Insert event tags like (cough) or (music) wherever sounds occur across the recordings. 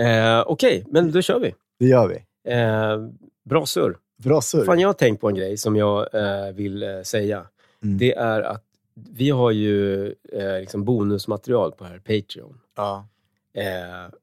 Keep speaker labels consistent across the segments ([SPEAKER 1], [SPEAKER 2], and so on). [SPEAKER 1] Eh, Okej, men då kör vi.
[SPEAKER 2] Det gör vi.
[SPEAKER 1] Eh, bra surr.
[SPEAKER 2] Bra surr.
[SPEAKER 1] Fan, jag har tänkt på en grej som jag eh, vill eh, säga.
[SPEAKER 2] Mm.
[SPEAKER 1] Det är att vi har ju eh, liksom bonusmaterial på här Patreon.
[SPEAKER 2] (laughs) Ja.
[SPEAKER 1] Eh,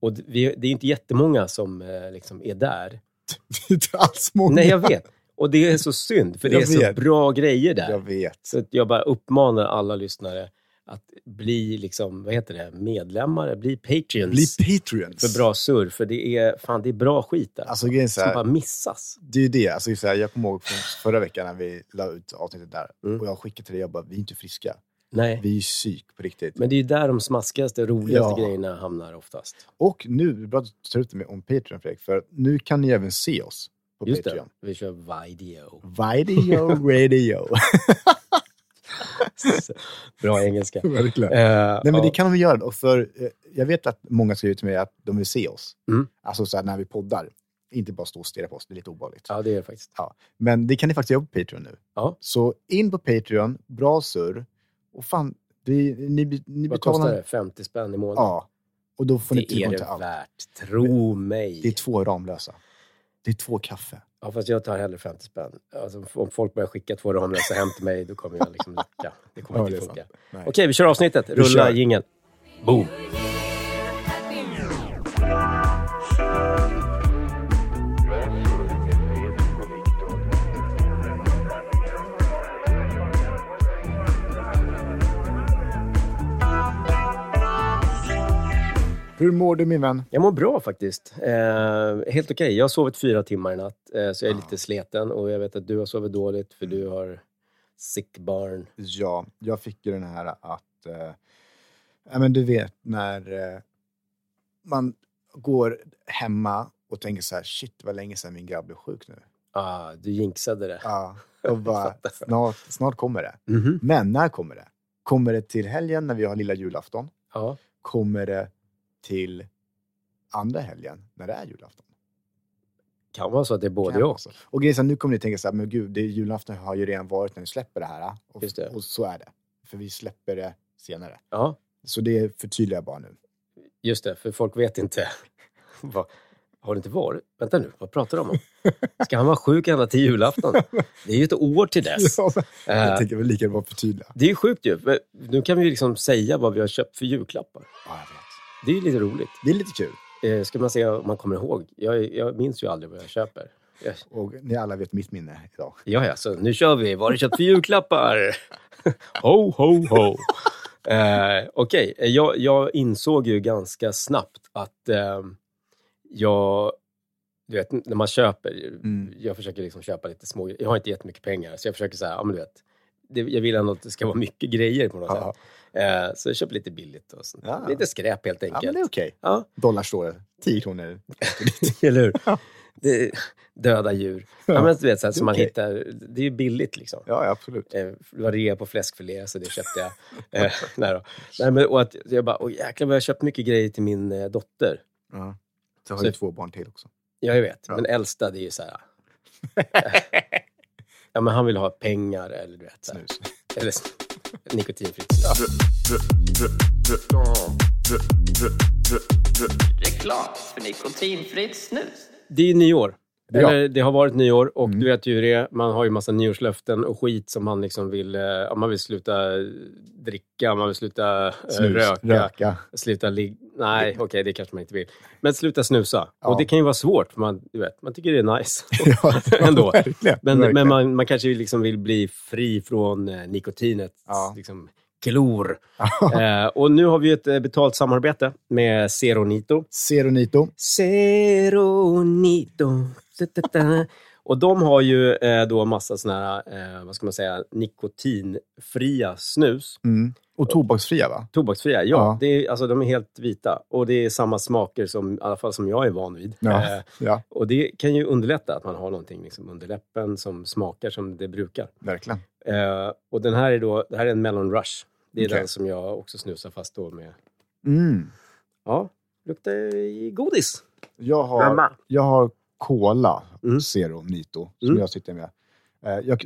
[SPEAKER 1] och d- vi, det är ju inte jättemånga som eh, liksom är där.
[SPEAKER 2] Det är inte alls många.
[SPEAKER 1] Nej, jag vet. Och det är så synd, för det
[SPEAKER 2] Jag
[SPEAKER 1] är så
[SPEAKER 2] vet.
[SPEAKER 1] bra grejer där.
[SPEAKER 2] Jag vet.
[SPEAKER 1] Så att jag bara uppmanar alla lyssnare att bli liksom, vad heter det, medlemmar, bli patreons
[SPEAKER 2] Bli Patreons.
[SPEAKER 1] för bra surr. För det är, fan, det är bra skit där.
[SPEAKER 2] Alltså, grejen är så
[SPEAKER 1] som bara
[SPEAKER 2] här,
[SPEAKER 1] missas.
[SPEAKER 2] det är ju det. Alltså, så här, jag kommer ihåg från förra veckan när vi la ut avsnittet där.
[SPEAKER 1] Mm.
[SPEAKER 2] Och jag skickade till dig, jag bara, vi är inte friska.
[SPEAKER 1] Nej.
[SPEAKER 2] Vi är ju psyk på riktigt.
[SPEAKER 1] Men det är ju där de smaskigaste, roligaste
[SPEAKER 2] Ja.
[SPEAKER 1] grejerna hamnar oftast.
[SPEAKER 2] Och nu, det är bra att du tar ut det med om Patreon Fredrik, för nu kan ni även se oss på
[SPEAKER 1] Just det,
[SPEAKER 2] Patreon.
[SPEAKER 1] vi kör
[SPEAKER 2] (laughs)
[SPEAKER 1] video. (laughs)
[SPEAKER 2] Video, radio.
[SPEAKER 1] Bra engelska.
[SPEAKER 2] Verkligen.
[SPEAKER 1] Eh,
[SPEAKER 2] (laughs) Nej, men
[SPEAKER 1] ja.
[SPEAKER 2] det kan de göra. Och för, eh, jag vet att många skriver till mig att de vill se oss.
[SPEAKER 1] Mm.
[SPEAKER 2] Alltså så här, när vi poddar. Inte bara stå och stirra på oss, det är lite obehagligt.
[SPEAKER 1] Ja, det är det faktiskt.
[SPEAKER 2] Men det kan ni faktiskt göra på Patreon nu.
[SPEAKER 1] Ja.
[SPEAKER 2] Så in på Patreon, bra surr. Och fan, vi, ni, ni, ni
[SPEAKER 1] Vad kostar
[SPEAKER 2] betalar...
[SPEAKER 1] det? 50 spänn i månaden?
[SPEAKER 2] Ja. Och då får ni
[SPEAKER 1] det är
[SPEAKER 2] tillgång till
[SPEAKER 1] det
[SPEAKER 2] allt.
[SPEAKER 1] värt. Tro mig.
[SPEAKER 2] Det är två Ramlösa. Det är två kaffe.
[SPEAKER 1] Ja, fast jag tar hellre 50 spänn. Alltså, om folk börjar skicka två Ramlösa hem till mig, då kommer jag liksom läcka. Det kommer
[SPEAKER 2] Ja,
[SPEAKER 1] inte
[SPEAKER 2] det är
[SPEAKER 1] funka.
[SPEAKER 2] Nej.
[SPEAKER 1] Okej, vi kör avsnittet. Rulla
[SPEAKER 2] kör.
[SPEAKER 1] jingeln. Boom!
[SPEAKER 2] Hur mår du min vän?
[SPEAKER 1] Jag mår bra faktiskt. Eh, helt okej. Jag har sovit fyra timmar i natt, eh, så jag
[SPEAKER 2] Ah.
[SPEAKER 1] är lite sleten. Och jag vet att du har sovit dåligt, för
[SPEAKER 2] Mm.
[SPEAKER 1] du har sick barn.
[SPEAKER 2] Ja, jag fick ju den här att... Eh, ja, men du vet när eh, man går hemma och tänker så här, shit vad länge sedan min grabb blev sjuk nu.
[SPEAKER 1] Ah, du jinxade det.
[SPEAKER 2] Ja, Ah, och bara,
[SPEAKER 1] (laughs)
[SPEAKER 2] Mm-hmm.
[SPEAKER 1] fattar.
[SPEAKER 2] (laughs) snart, snart kommer det.
[SPEAKER 1] Mhm.
[SPEAKER 2] Men när kommer det? Kommer det till helgen när vi har lilla julafton?
[SPEAKER 1] Ja.
[SPEAKER 2] Kommer det till andra helgen när det är julafton?
[SPEAKER 1] Kan vara så att det är både
[SPEAKER 2] Kan
[SPEAKER 1] och.
[SPEAKER 2] vara så. Och grejen är så här, nu kommer ni tänka så här, men gud, det är julafton har ju redan varit när vi släpper det här. ah. Och,
[SPEAKER 1] Just det.
[SPEAKER 2] och så är det. För vi släpper det senare.
[SPEAKER 1] Ja,
[SPEAKER 2] Så det förtydligar jag bara nu.
[SPEAKER 1] just det. För folk vet inte. (laughs) vad, har det inte varit? Vänta nu, vad pratar
[SPEAKER 2] (laughs)
[SPEAKER 1] de om? Ska han vara sjuk ända till julafton? Det är ju ett år till dess.
[SPEAKER 2] (laughs) Ja, men
[SPEAKER 1] Eh,
[SPEAKER 2] jag tänker väl lika bra förtydliga.
[SPEAKER 1] Det är ju sjukt ju. för Nu kan vi ju liksom säga vad vi har köpt för julklappar.
[SPEAKER 2] Ja, jag vet.
[SPEAKER 1] Det är ju lite roligt.
[SPEAKER 2] Det är lite kul.
[SPEAKER 1] Eh, ska man säga om man kommer ihåg? Jag, jag minns ju aldrig vad jag köper. Jag,
[SPEAKER 2] Och ni alla vet mitt minne idag.
[SPEAKER 1] ja, ja, så nu kör vi. Vad har du köpt för
[SPEAKER 2] (laughs)
[SPEAKER 1] julklappar? ho, ho, ho. Eh, Okej, eh, jag, jag insåg ju ganska snabbt att eh, jag... Du vet, när man köper,
[SPEAKER 2] Mm.
[SPEAKER 1] jag försöker liksom köpa lite små Jag har inte jättemycket pengar, så jag försöker så här, ja men du vet. Det, jag vill ändå att det ska vara mycket grejer på något sätt.
[SPEAKER 2] Ja,
[SPEAKER 1] Eh, Så jag köper lite billigt och sånt.
[SPEAKER 2] Ja.
[SPEAKER 1] Lite skräp helt
[SPEAKER 2] ja, men
[SPEAKER 1] enkelt.
[SPEAKER 2] det är okej.
[SPEAKER 1] Ja,
[SPEAKER 2] Dollar står det. 10 kronor.
[SPEAKER 1] (laughs) eller hur? Det, döda djur. Ja, men du vet, så här,
[SPEAKER 2] Det är
[SPEAKER 1] som man
[SPEAKER 2] okej.
[SPEAKER 1] hittar. Det är ju billigt liksom.
[SPEAKER 2] Ja, ja, absolut.
[SPEAKER 1] Eh, Det var rea på fläskfilé, så det köpte jag. Eh, (laughs) nej då. Nej, men, och att, jag bara, åh jäklar vad jag har köpt mycket grejer till min eh, dotter.
[SPEAKER 2] Ja. Så har
[SPEAKER 1] Så-
[SPEAKER 2] du två barn till också.
[SPEAKER 1] Ja, jag vet.
[SPEAKER 2] Ja.
[SPEAKER 1] Men äldsta, det är ju så
[SPEAKER 2] (laughs)
[SPEAKER 1] här... eh, ja, men han vill ha pengar eller du vet. Så här.
[SPEAKER 2] Snus.
[SPEAKER 1] Eller s- nikotinfritt snus.
[SPEAKER 3] Reklam för nikotinfritt snus.
[SPEAKER 1] Det är ju nyår.
[SPEAKER 2] Ja.
[SPEAKER 1] Eller, det har varit nyår och
[SPEAKER 2] Mm.
[SPEAKER 1] du vet ju hur det är. Man har ju massa nyårslöften och skit som man liksom vill... eh, ja, man vill sluta eh, dricka, man vill sluta eh,
[SPEAKER 2] Snus.
[SPEAKER 1] röka,
[SPEAKER 2] Röka.
[SPEAKER 1] sluta ligga... Nej, okej, det kanske man inte vill. Men sluta snusa.
[SPEAKER 2] Ja.
[SPEAKER 1] Och det kan ju vara svårt, för man, du vet, man tycker det är nice.
[SPEAKER 2] (laughs) (laughs) Ja,
[SPEAKER 1] (laughs) Ändå.
[SPEAKER 2] Verkligen.
[SPEAKER 1] Men, men
[SPEAKER 2] verkligen.
[SPEAKER 1] man, man kanske liksom vill bli fri från eh, nikotinets
[SPEAKER 2] Ja.
[SPEAKER 1] liksom, klor.
[SPEAKER 2] (laughs) Ja.
[SPEAKER 1] Eh, och nu har vi ju ett eh, betalt samarbete med Seronito.
[SPEAKER 2] Seronito.
[SPEAKER 1] Seronito. Ta-ta-ta. Och de har ju eh, då massa såna här, eh, vad ska man säga, nikotinfria snus.
[SPEAKER 2] Mm. Och tobaksfria, va?
[SPEAKER 1] Tobaksfria, ja.
[SPEAKER 2] Ja.
[SPEAKER 1] Det är, alltså, de är helt vita. Och det är samma smaker som, i alla fall som jag är van vid.
[SPEAKER 2] Ja.
[SPEAKER 1] Eh,
[SPEAKER 2] ja,
[SPEAKER 1] och det kan ju underlätta att man har någonting liksom, under läppen som smakar som det brukar.
[SPEAKER 2] verkligen.
[SPEAKER 1] Eh, och den här är då, det här är en Melon Rush. Det är
[SPEAKER 2] Okej.
[SPEAKER 1] den som jag också snusar fast då med.
[SPEAKER 2] Mm.
[SPEAKER 1] Ja, luktar i godis.
[SPEAKER 2] Jag har Jag har Cola
[SPEAKER 1] Mm.
[SPEAKER 2] Zero Nito som
[SPEAKER 1] Mm.
[SPEAKER 2] jag sitter med. Eh, Jag,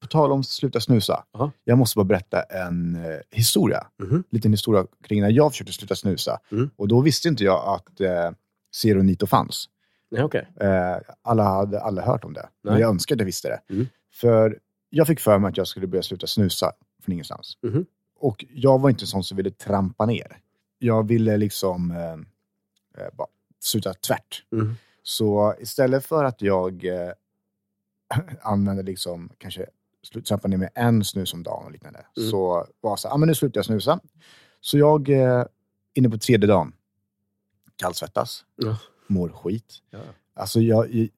[SPEAKER 2] på tal om sluta snusa.
[SPEAKER 1] Aha.
[SPEAKER 2] Jag måste bara berätta en eh, historia.
[SPEAKER 1] Mhm.
[SPEAKER 2] liten historia kring när jag försökte sluta snusa.
[SPEAKER 1] Mm.
[SPEAKER 2] Och då visste inte jag att eh, Seronito fanns.
[SPEAKER 1] Nej, okej.
[SPEAKER 2] Eh, alla hade aldrig hört om det. Men
[SPEAKER 1] Nej.
[SPEAKER 2] jag önskar att jag visste det.
[SPEAKER 1] Mm.
[SPEAKER 2] För jag fick för mig att jag skulle börja sluta snusa från ingenstans.
[SPEAKER 1] Mhm.
[SPEAKER 2] Och jag var inte en sån som ville trampa ner. Jag ville liksom eh, eh, bara sluta tvärt.
[SPEAKER 1] Mm.
[SPEAKER 2] Så istället för att jag eh, (laughs) använde liksom kanske slu- trampa ner med en snus om dagen och liknande.
[SPEAKER 1] Mm.
[SPEAKER 2] Så var jag så här, ah, men nu slutar jag snusa. Så jag, eh, inne på tredje dagen, kallsvettas,
[SPEAKER 1] Ja.
[SPEAKER 2] mår skit.
[SPEAKER 1] Ja.
[SPEAKER 2] Alltså jag, jag-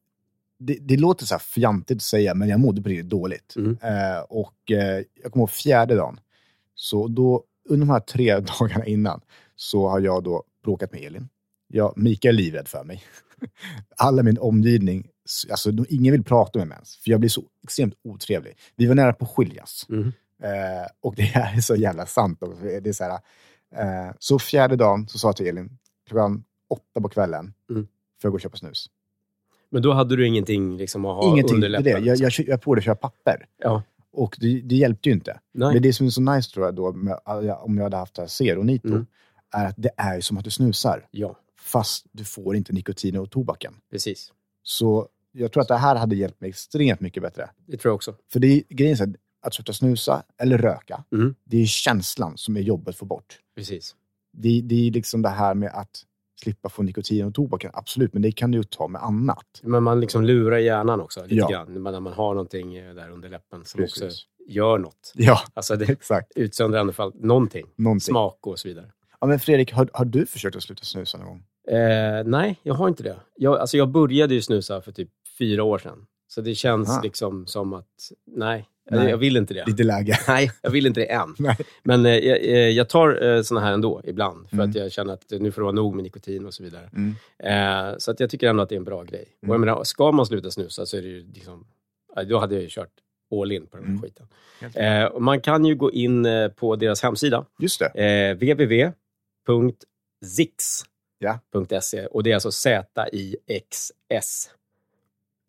[SPEAKER 2] det, det låter så här fjantigt att säga, men jag mådde på riktigt dåligt.
[SPEAKER 1] Mm.
[SPEAKER 2] Eh, och eh, jag kommer ihåg fjärde dagen. Så då, under de här tre (laughs) dagarna innan, så har jag då bråkat med Elin. Jag, Mikael är livrädd för mig. (laughs) Alla i min omgivning, s- alltså de, ingen vill prata med mig ens, för jag blir så extremt otrevlig. Vi var nära på att skiljas.
[SPEAKER 1] Mm.
[SPEAKER 2] Eh, och det här är så jävla sant. Och Det är så, här, eh, så fjärde dagen så sa jag till Elin, klockan åtta på kvällen,
[SPEAKER 1] Mm.
[SPEAKER 2] får jag gå och köpa snus.
[SPEAKER 1] Men då hade du ingenting liksom, att ha liksom.
[SPEAKER 2] Ingenting
[SPEAKER 1] under
[SPEAKER 2] med det.
[SPEAKER 1] läppen?
[SPEAKER 2] Jag, jag, kö- jag provade att köra papper.
[SPEAKER 1] Ja.
[SPEAKER 2] Och det, det hjälpte ju inte.
[SPEAKER 1] Nej.
[SPEAKER 2] Men det som är så nice tror jag då, med, om jag hade haft det här seronito,
[SPEAKER 1] Mm.
[SPEAKER 2] är att det är ju som att du snusar.
[SPEAKER 1] Ja,
[SPEAKER 2] Fast du får inte nikotin och tobaken.
[SPEAKER 1] precis.
[SPEAKER 2] Så jag tror att det här hade hjälpt mig extremt mycket bättre.
[SPEAKER 1] Det tror jag också.
[SPEAKER 2] För det är grejen är så här, att sluta snusa eller röka,
[SPEAKER 1] Mm.
[SPEAKER 2] det är känslan som är jobbigt att få bort.
[SPEAKER 1] Precis.
[SPEAKER 2] Det, det är liksom det här med att slippa få nikotin och tobaken, absolut, men det kan du ju ta med annat.
[SPEAKER 1] Men man liksom lurar hjärnan också lite
[SPEAKER 2] Ja.
[SPEAKER 1] grann. När man har någonting eh, där under läppen som
[SPEAKER 2] Precis.
[SPEAKER 1] också gör något.
[SPEAKER 2] Ja,
[SPEAKER 1] Alltså det (laughs)
[SPEAKER 2] exakt.
[SPEAKER 1] utsöndrar i alla fall någonting.
[SPEAKER 2] Någonting.
[SPEAKER 1] Smak och så vidare.
[SPEAKER 2] Ja, men Fredrik, har, har du försökt att sluta snusa någon gång?
[SPEAKER 1] Eh, nej, jag har inte det. Jag, alltså jag började ju snusa för typ fyra år sedan. Så det känns
[SPEAKER 2] Ah.
[SPEAKER 1] liksom som att, nej, eller
[SPEAKER 2] Nej.
[SPEAKER 1] jag vill inte
[SPEAKER 2] (laughs)
[SPEAKER 1] det.
[SPEAKER 2] Lite läge.
[SPEAKER 1] Nej, jag vill inte det än.
[SPEAKER 2] Nej.
[SPEAKER 1] Men eh, jag, eh, jag tar eh, såna här ändå ibland. För
[SPEAKER 2] Mm.
[SPEAKER 1] att jag känner att eh, nu får det vara nog med nikotin och så vidare.
[SPEAKER 2] Mm.
[SPEAKER 1] Eh, så att jag tycker ändå att det är en bra grej. Och jag
[SPEAKER 2] Mm.
[SPEAKER 1] menar, ska man sluta snusa så är det ju liksom... ja, Då hade jag ju kört all in på den här
[SPEAKER 2] Mm.
[SPEAKER 1] skiten.
[SPEAKER 2] Helt
[SPEAKER 1] Eh, och man kan ju gå in eh, på deras hemsida,
[SPEAKER 2] Just det.
[SPEAKER 1] eh, www.zix.se.
[SPEAKER 2] Ja.
[SPEAKER 1] Och det är alltså Z-I-X-S.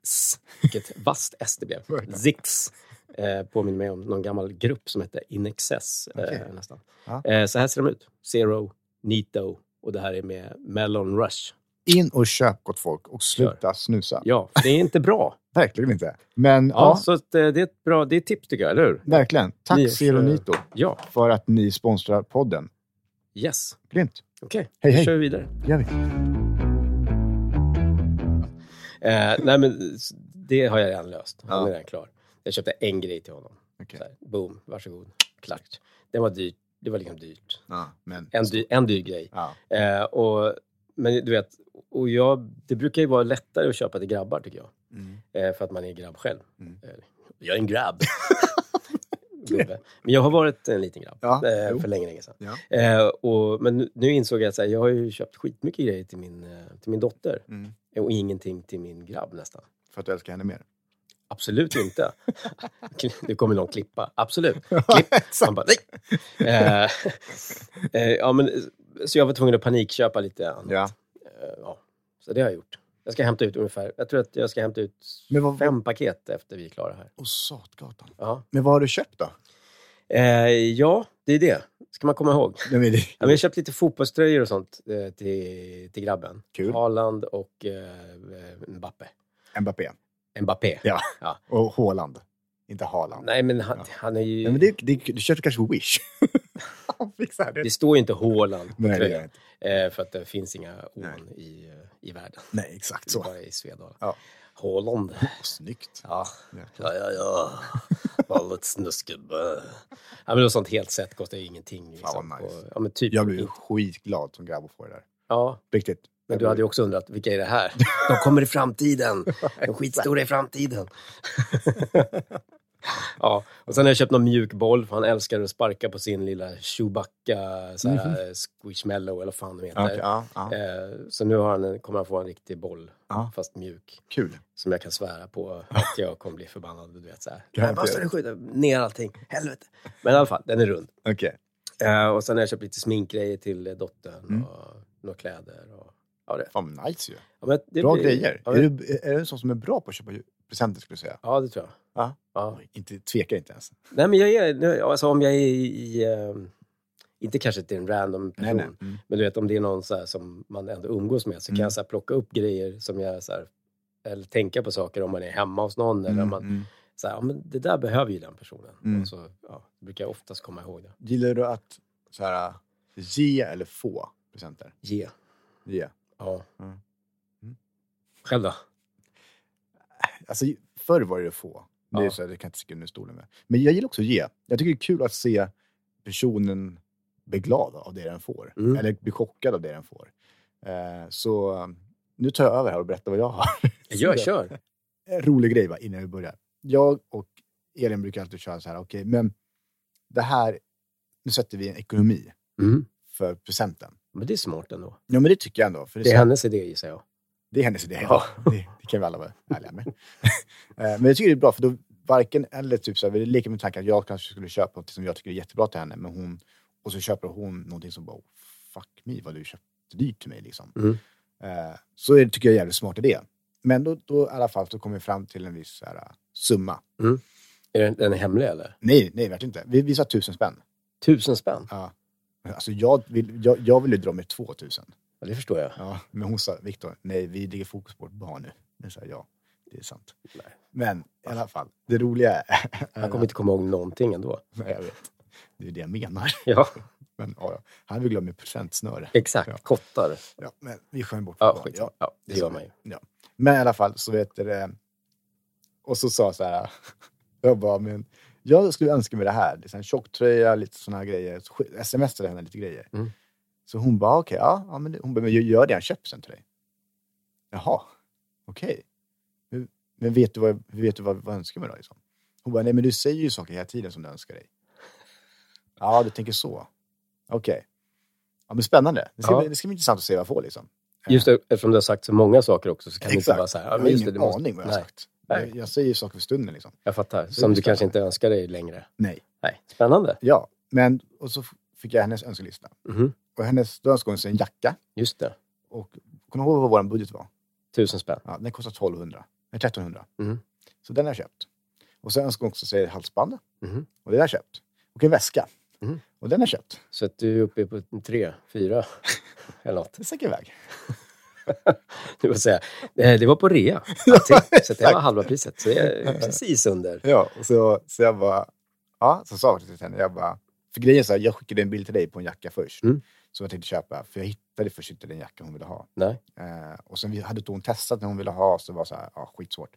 [SPEAKER 1] S. Vilket vasst S
[SPEAKER 2] (laughs)
[SPEAKER 1] det blev.
[SPEAKER 2] Verkligen.
[SPEAKER 1] Zix. Eh, påminner mig om någon gammal grupp som hette In Excess.
[SPEAKER 2] Okej.
[SPEAKER 1] Eh, nästan.
[SPEAKER 2] Ja.
[SPEAKER 1] Eh, så här ser de ut. Zero, Nito och det här är med Melon Rush.
[SPEAKER 2] In och köp gott folk och sluta snusa.
[SPEAKER 1] Ja, för det är inte bra.
[SPEAKER 2] Verkligen inte. Men (laughs) ja,
[SPEAKER 1] Ja, Så att, eh, det är ett bra det är ett tips tycker jag, eller hur?
[SPEAKER 2] verkligen. Tack
[SPEAKER 1] Ni-
[SPEAKER 2] Seronito
[SPEAKER 1] Ja,
[SPEAKER 2] för att ni sponsrar podden.
[SPEAKER 1] yes.
[SPEAKER 2] Grymt.
[SPEAKER 1] Okej,
[SPEAKER 2] Hej,
[SPEAKER 1] då
[SPEAKER 2] hej.
[SPEAKER 1] kör vi vidare.
[SPEAKER 2] Gör vi.
[SPEAKER 1] Eh, nej, men s- det har jag redan löst. Han
[SPEAKER 2] Ja.
[SPEAKER 1] är redan klar. Jag köpte en grej till honom.
[SPEAKER 2] Okej.
[SPEAKER 1] Så här, boom, varsågod. Klart. Det var dyrt. Det var liksom dyrt.
[SPEAKER 2] Ja, men...
[SPEAKER 1] En, dy, en dyr grej.
[SPEAKER 2] Ja.
[SPEAKER 1] Eh, och, men du vet, och jag, det brukar ju vara lättare att köpa till grabbar tycker jag.
[SPEAKER 2] Mm.
[SPEAKER 1] Eh, för att man är en grabb själv.
[SPEAKER 2] Mm.
[SPEAKER 1] Eh, jag är en
[SPEAKER 2] (laughs)
[SPEAKER 1] grabb. Gubbe. men jag har varit en liten grabb
[SPEAKER 2] Ja,
[SPEAKER 1] eh,
[SPEAKER 2] jo.
[SPEAKER 1] för länge, länge sedan.
[SPEAKER 2] Ja.
[SPEAKER 1] Eh, och, men nu, nu insåg jag att så här, jag har ju köpt skitmycket grejer till min, eh, till min dotter Eh,
[SPEAKER 2] Mm.
[SPEAKER 1] och ingenting till min grabb nästan.
[SPEAKER 2] För att du älskar henne mer.
[SPEAKER 1] Absolut
[SPEAKER 2] (laughs)
[SPEAKER 1] inte. Nu kommer någon klippa. Absolut.
[SPEAKER 2] Exakt.
[SPEAKER 1] Han bara, nej! Eh, eh, ja, men, så jag var tvungen att panikköpa lite annat.
[SPEAKER 2] Ja.
[SPEAKER 1] Eh, ja. Så det har jag gjort. Jag ska hämta ut ungefär, jag tror att jag ska hämta ut
[SPEAKER 2] Men vad-
[SPEAKER 1] fem paket efter vi är klara här.
[SPEAKER 2] Och Satgatan.
[SPEAKER 1] Ja.
[SPEAKER 2] Men vad har du köpt då?
[SPEAKER 1] Eh, ja, det är det. Ska man komma ihåg.
[SPEAKER 2] Nej, men det...
[SPEAKER 1] Ja, men jag har köpt lite fotbollströjor och sånt eh, till, till grabben.
[SPEAKER 2] Kul.
[SPEAKER 1] Haaland och eh, Mbappe.
[SPEAKER 2] Mbappé.
[SPEAKER 1] Mbappé.
[SPEAKER 2] Ja.
[SPEAKER 1] Ja.
[SPEAKER 2] Och Haaland. Inte Haaland.
[SPEAKER 1] Nej, men han,
[SPEAKER 2] Ja.
[SPEAKER 1] han är ju...
[SPEAKER 2] Nej, men det, det, du köpte kanske Wish? (laughs) Han fixar det.
[SPEAKER 1] Det står ju inte Haaland på
[SPEAKER 2] Nej, det gör
[SPEAKER 1] tröjan,
[SPEAKER 2] jag inte.
[SPEAKER 1] eh, för att det finns inga ån
[SPEAKER 2] Nej.
[SPEAKER 1] i, eh, i världen.
[SPEAKER 2] Nej, exakt
[SPEAKER 1] Så.
[SPEAKER 2] så.
[SPEAKER 1] Bara i Svedala.
[SPEAKER 2] Ja.
[SPEAKER 1] Haaland.
[SPEAKER 2] Snyggt.
[SPEAKER 1] Ja,
[SPEAKER 2] Jäklar.
[SPEAKER 1] ja, ja. ja. Ballet snuskgubbe. Ja, men något sånt helt sätt kostar ju ingenting. Liksom,
[SPEAKER 2] vad nice.
[SPEAKER 1] på, ja, men typ,
[SPEAKER 2] Jag blev ju skitglad som grabb att få det där.
[SPEAKER 1] ja,
[SPEAKER 2] Riktigt.
[SPEAKER 1] men du hade ju också undrat, vilka är det här? De kommer i
[SPEAKER 2] (laughs)
[SPEAKER 1] framtiden. De skitstora i framtiden. ja, och sen har jag köpt någon mjuk boll, för han älskar att sparka på sin lilla Chewbacca, så här, eh, squishmallow eller vad fan de heter.
[SPEAKER 2] Ja, Mhm. okej, ja, ja.
[SPEAKER 1] Eh, Så nu har han en, kommer han få en riktig boll,
[SPEAKER 2] Ja.
[SPEAKER 1] fast mjuk,
[SPEAKER 2] Kul.
[SPEAKER 1] som jag kan svära på att jag kommer bli förbannad. Du vet, så här.
[SPEAKER 2] Garanterat.
[SPEAKER 1] Nej, måste du skjuta ner allting? Helvete. Men i alla fall, den är rund.
[SPEAKER 2] Okej.
[SPEAKER 1] Eh, Och sen har jag köpt lite sminkgrejer till eh, dottern
[SPEAKER 2] Mm.
[SPEAKER 1] och några kläder och av det.
[SPEAKER 2] Fan vad nice ju.
[SPEAKER 1] Ja, men det
[SPEAKER 2] Bra
[SPEAKER 1] blir-
[SPEAKER 2] grejer.
[SPEAKER 1] Ja,
[SPEAKER 2] Är,
[SPEAKER 1] men,
[SPEAKER 2] du, är du en sån som är bra på att köpa ju- presenter skulle jag säga?
[SPEAKER 1] ja, det tror jag.
[SPEAKER 2] Ja.
[SPEAKER 1] Ja.
[SPEAKER 2] Inte, tvekar inte ens.
[SPEAKER 1] Nej, men jag är, nu- alltså, om jag är i... eh, inte kanske till en random person,
[SPEAKER 2] Nej, nej. Mm.
[SPEAKER 1] men du vet om det är någon så här som man ändå umgås med så kan
[SPEAKER 2] Mm.
[SPEAKER 1] jag så här plocka upp grejer som jag... Så här, eller tänka på saker om man är hemma hos någon. Eller om
[SPEAKER 2] Mm,
[SPEAKER 1] man,
[SPEAKER 2] mm.
[SPEAKER 1] så här, ja, men det där behöver ju den personen.
[SPEAKER 2] Mm.
[SPEAKER 1] Och så ja, brukar jag oftast komma ihåg det.
[SPEAKER 2] Gillar du att så här, ge eller få presenter?
[SPEAKER 1] Ge.
[SPEAKER 2] Ge.
[SPEAKER 1] Ja.
[SPEAKER 2] Mm. Mm.
[SPEAKER 1] Själv då?
[SPEAKER 2] Alltså, förr var det få. Det, är
[SPEAKER 1] Ja.
[SPEAKER 2] så här, det kan jag inte sticka under stolen med. Men jag gillar också att ge. Jag tycker det är kul att se personen bli glad av det den får.
[SPEAKER 1] Mm.
[SPEAKER 2] Eller bli chockad av det den får. Eh, så eh, nu tar jag över här och berättar vad jag har. (laughs)
[SPEAKER 1] Gör,
[SPEAKER 2] det.
[SPEAKER 1] kör.
[SPEAKER 2] en rolig grej va, innan vi börjar. Jag och Elin brukar alltid köra så här, okej, men det här, nu sätter vi en ekonomi
[SPEAKER 1] Mm.
[SPEAKER 2] för presenten.
[SPEAKER 1] Men det är smart ändå.
[SPEAKER 2] Ja, men det tycker jag ändå. För
[SPEAKER 1] Det
[SPEAKER 2] så
[SPEAKER 1] är
[SPEAKER 2] här-
[SPEAKER 1] hennes idé gissar jag.
[SPEAKER 2] det är hennes idé.
[SPEAKER 1] Ja.
[SPEAKER 2] Det, det kan vi alla vara ärliga med. Eh, men jag tycker det är bra, för då varken eller typ så här, vi leker med tanken att jag kanske skulle köpa något som jag tycker är jättebra till henne, men hon, och så köper hon någonting som bara, oh, fuck me, vad du köpte dyrt till mig liksom.
[SPEAKER 1] Mm.
[SPEAKER 2] Eh, så är det, tycker jag är en jävligt smart idé. Men då, då i alla fall, så kommer vi fram till en viss så här, eh, summa.
[SPEAKER 1] Är den, den är hemlig eller?
[SPEAKER 2] Nej, nej, verkligen inte. Vi, vi sa tusen spänn.
[SPEAKER 1] Tusen spänn?
[SPEAKER 2] Ja. Alltså jag vill, jag, jag vill ju dra med två tusen.
[SPEAKER 1] Ja, det förstår jag.
[SPEAKER 2] Ja, men hon sa, Viktor, nej, vi lägger fokus på vårt barn nu. Men sa jag, ja, det är sant.
[SPEAKER 1] Nej.
[SPEAKER 2] Men i alla fall, det roliga är...
[SPEAKER 1] Han kommer inte komma ihåg någonting ändå.
[SPEAKER 2] Nej, (laughs) jag vet. Det är det jag menar.
[SPEAKER 1] (laughs) Ja,
[SPEAKER 2] Men ja, ja. han vill glömma procentsnöre.
[SPEAKER 1] exakt.
[SPEAKER 2] Ja.
[SPEAKER 1] Kottar.
[SPEAKER 2] Ja, men vi skämmer bort
[SPEAKER 1] Ja,
[SPEAKER 2] vårt barn.
[SPEAKER 1] skit. Ja, det gör man ju.
[SPEAKER 2] Men i alla fall så vet du det. Och så sa jag så här. (laughs) Jag bara, men jag skulle önska mig det här. Det är så här en tjocktröja, lite sådana här grejer. Så sk- Smsade henne lite grejer.
[SPEAKER 1] Mm.
[SPEAKER 2] Så hon bara, okej, ja, ja, men det- hon bara, men jag gör det jag köper sen till dig. Jaha, okej. Men, men vet du vad, vet du vad, vad jag önskar mig då? Liksom? Hon bara, nej men du säger ju saker hela tiden som du önskar dig. Ja, du tänker så. Okej. Ja, men spännande. Det ska,
[SPEAKER 1] Ja.
[SPEAKER 2] bli, det ska bli intressant att se vad jag får liksom.
[SPEAKER 1] Just det, eftersom du har sagt så många saker också så kan du inte
[SPEAKER 2] Exakt.
[SPEAKER 1] bara säga, ja,
[SPEAKER 2] Jag
[SPEAKER 1] men
[SPEAKER 2] har
[SPEAKER 1] just det,
[SPEAKER 2] ingen
[SPEAKER 1] det måste...
[SPEAKER 2] aning vad jag har
[SPEAKER 1] Nej,
[SPEAKER 2] sagt.
[SPEAKER 1] Nej.
[SPEAKER 2] Jag, jag säger saker för stunden liksom.
[SPEAKER 1] jag fattar.
[SPEAKER 2] Så
[SPEAKER 1] Som
[SPEAKER 2] det
[SPEAKER 1] du
[SPEAKER 2] förstår
[SPEAKER 1] kanske
[SPEAKER 2] jag.
[SPEAKER 1] inte önskar dig längre.
[SPEAKER 2] Nej.
[SPEAKER 1] Nej, spännande.
[SPEAKER 2] Ja, men och så f- fick jag hennes önskelista.
[SPEAKER 1] Mhm.
[SPEAKER 2] Och hennes, då önskade hon sig en jacka.
[SPEAKER 1] Just det.
[SPEAKER 2] Och kommer du ihåg vad vår budget var?
[SPEAKER 1] Tusen spänn.
[SPEAKER 2] Ja, den kostar 1200. Nej, 1300.
[SPEAKER 1] Mm.
[SPEAKER 2] Så den har jag köpt. Och sen önskade hon också sig ett halsband.
[SPEAKER 1] Mhm.
[SPEAKER 2] Och det har jag köpt. Och en väska.
[SPEAKER 1] Mm.
[SPEAKER 2] Och den har jag köpt.
[SPEAKER 1] Så att du är uppe på tre, fyra (laughs) eller något.
[SPEAKER 2] Det stack iväg.
[SPEAKER 1] Du får säga, eh, det var på
[SPEAKER 2] (laughs)
[SPEAKER 1] rea. allting. Så att det var halva priset. Så det är precis under.
[SPEAKER 2] Ja, och så, så jag bara... Ja, så sa jag till henne. Jag bara... För grejen är så här, jag skickade en bild till dig på en jacka först.
[SPEAKER 1] Mm.
[SPEAKER 2] Som jag tänkte köpa. För jag hittade först inte den jacka hon ville ha.
[SPEAKER 1] Nej.
[SPEAKER 2] Eh, och sen vi hade då hon testat när hon ville ha, så det var så här, ja, skitsvårt.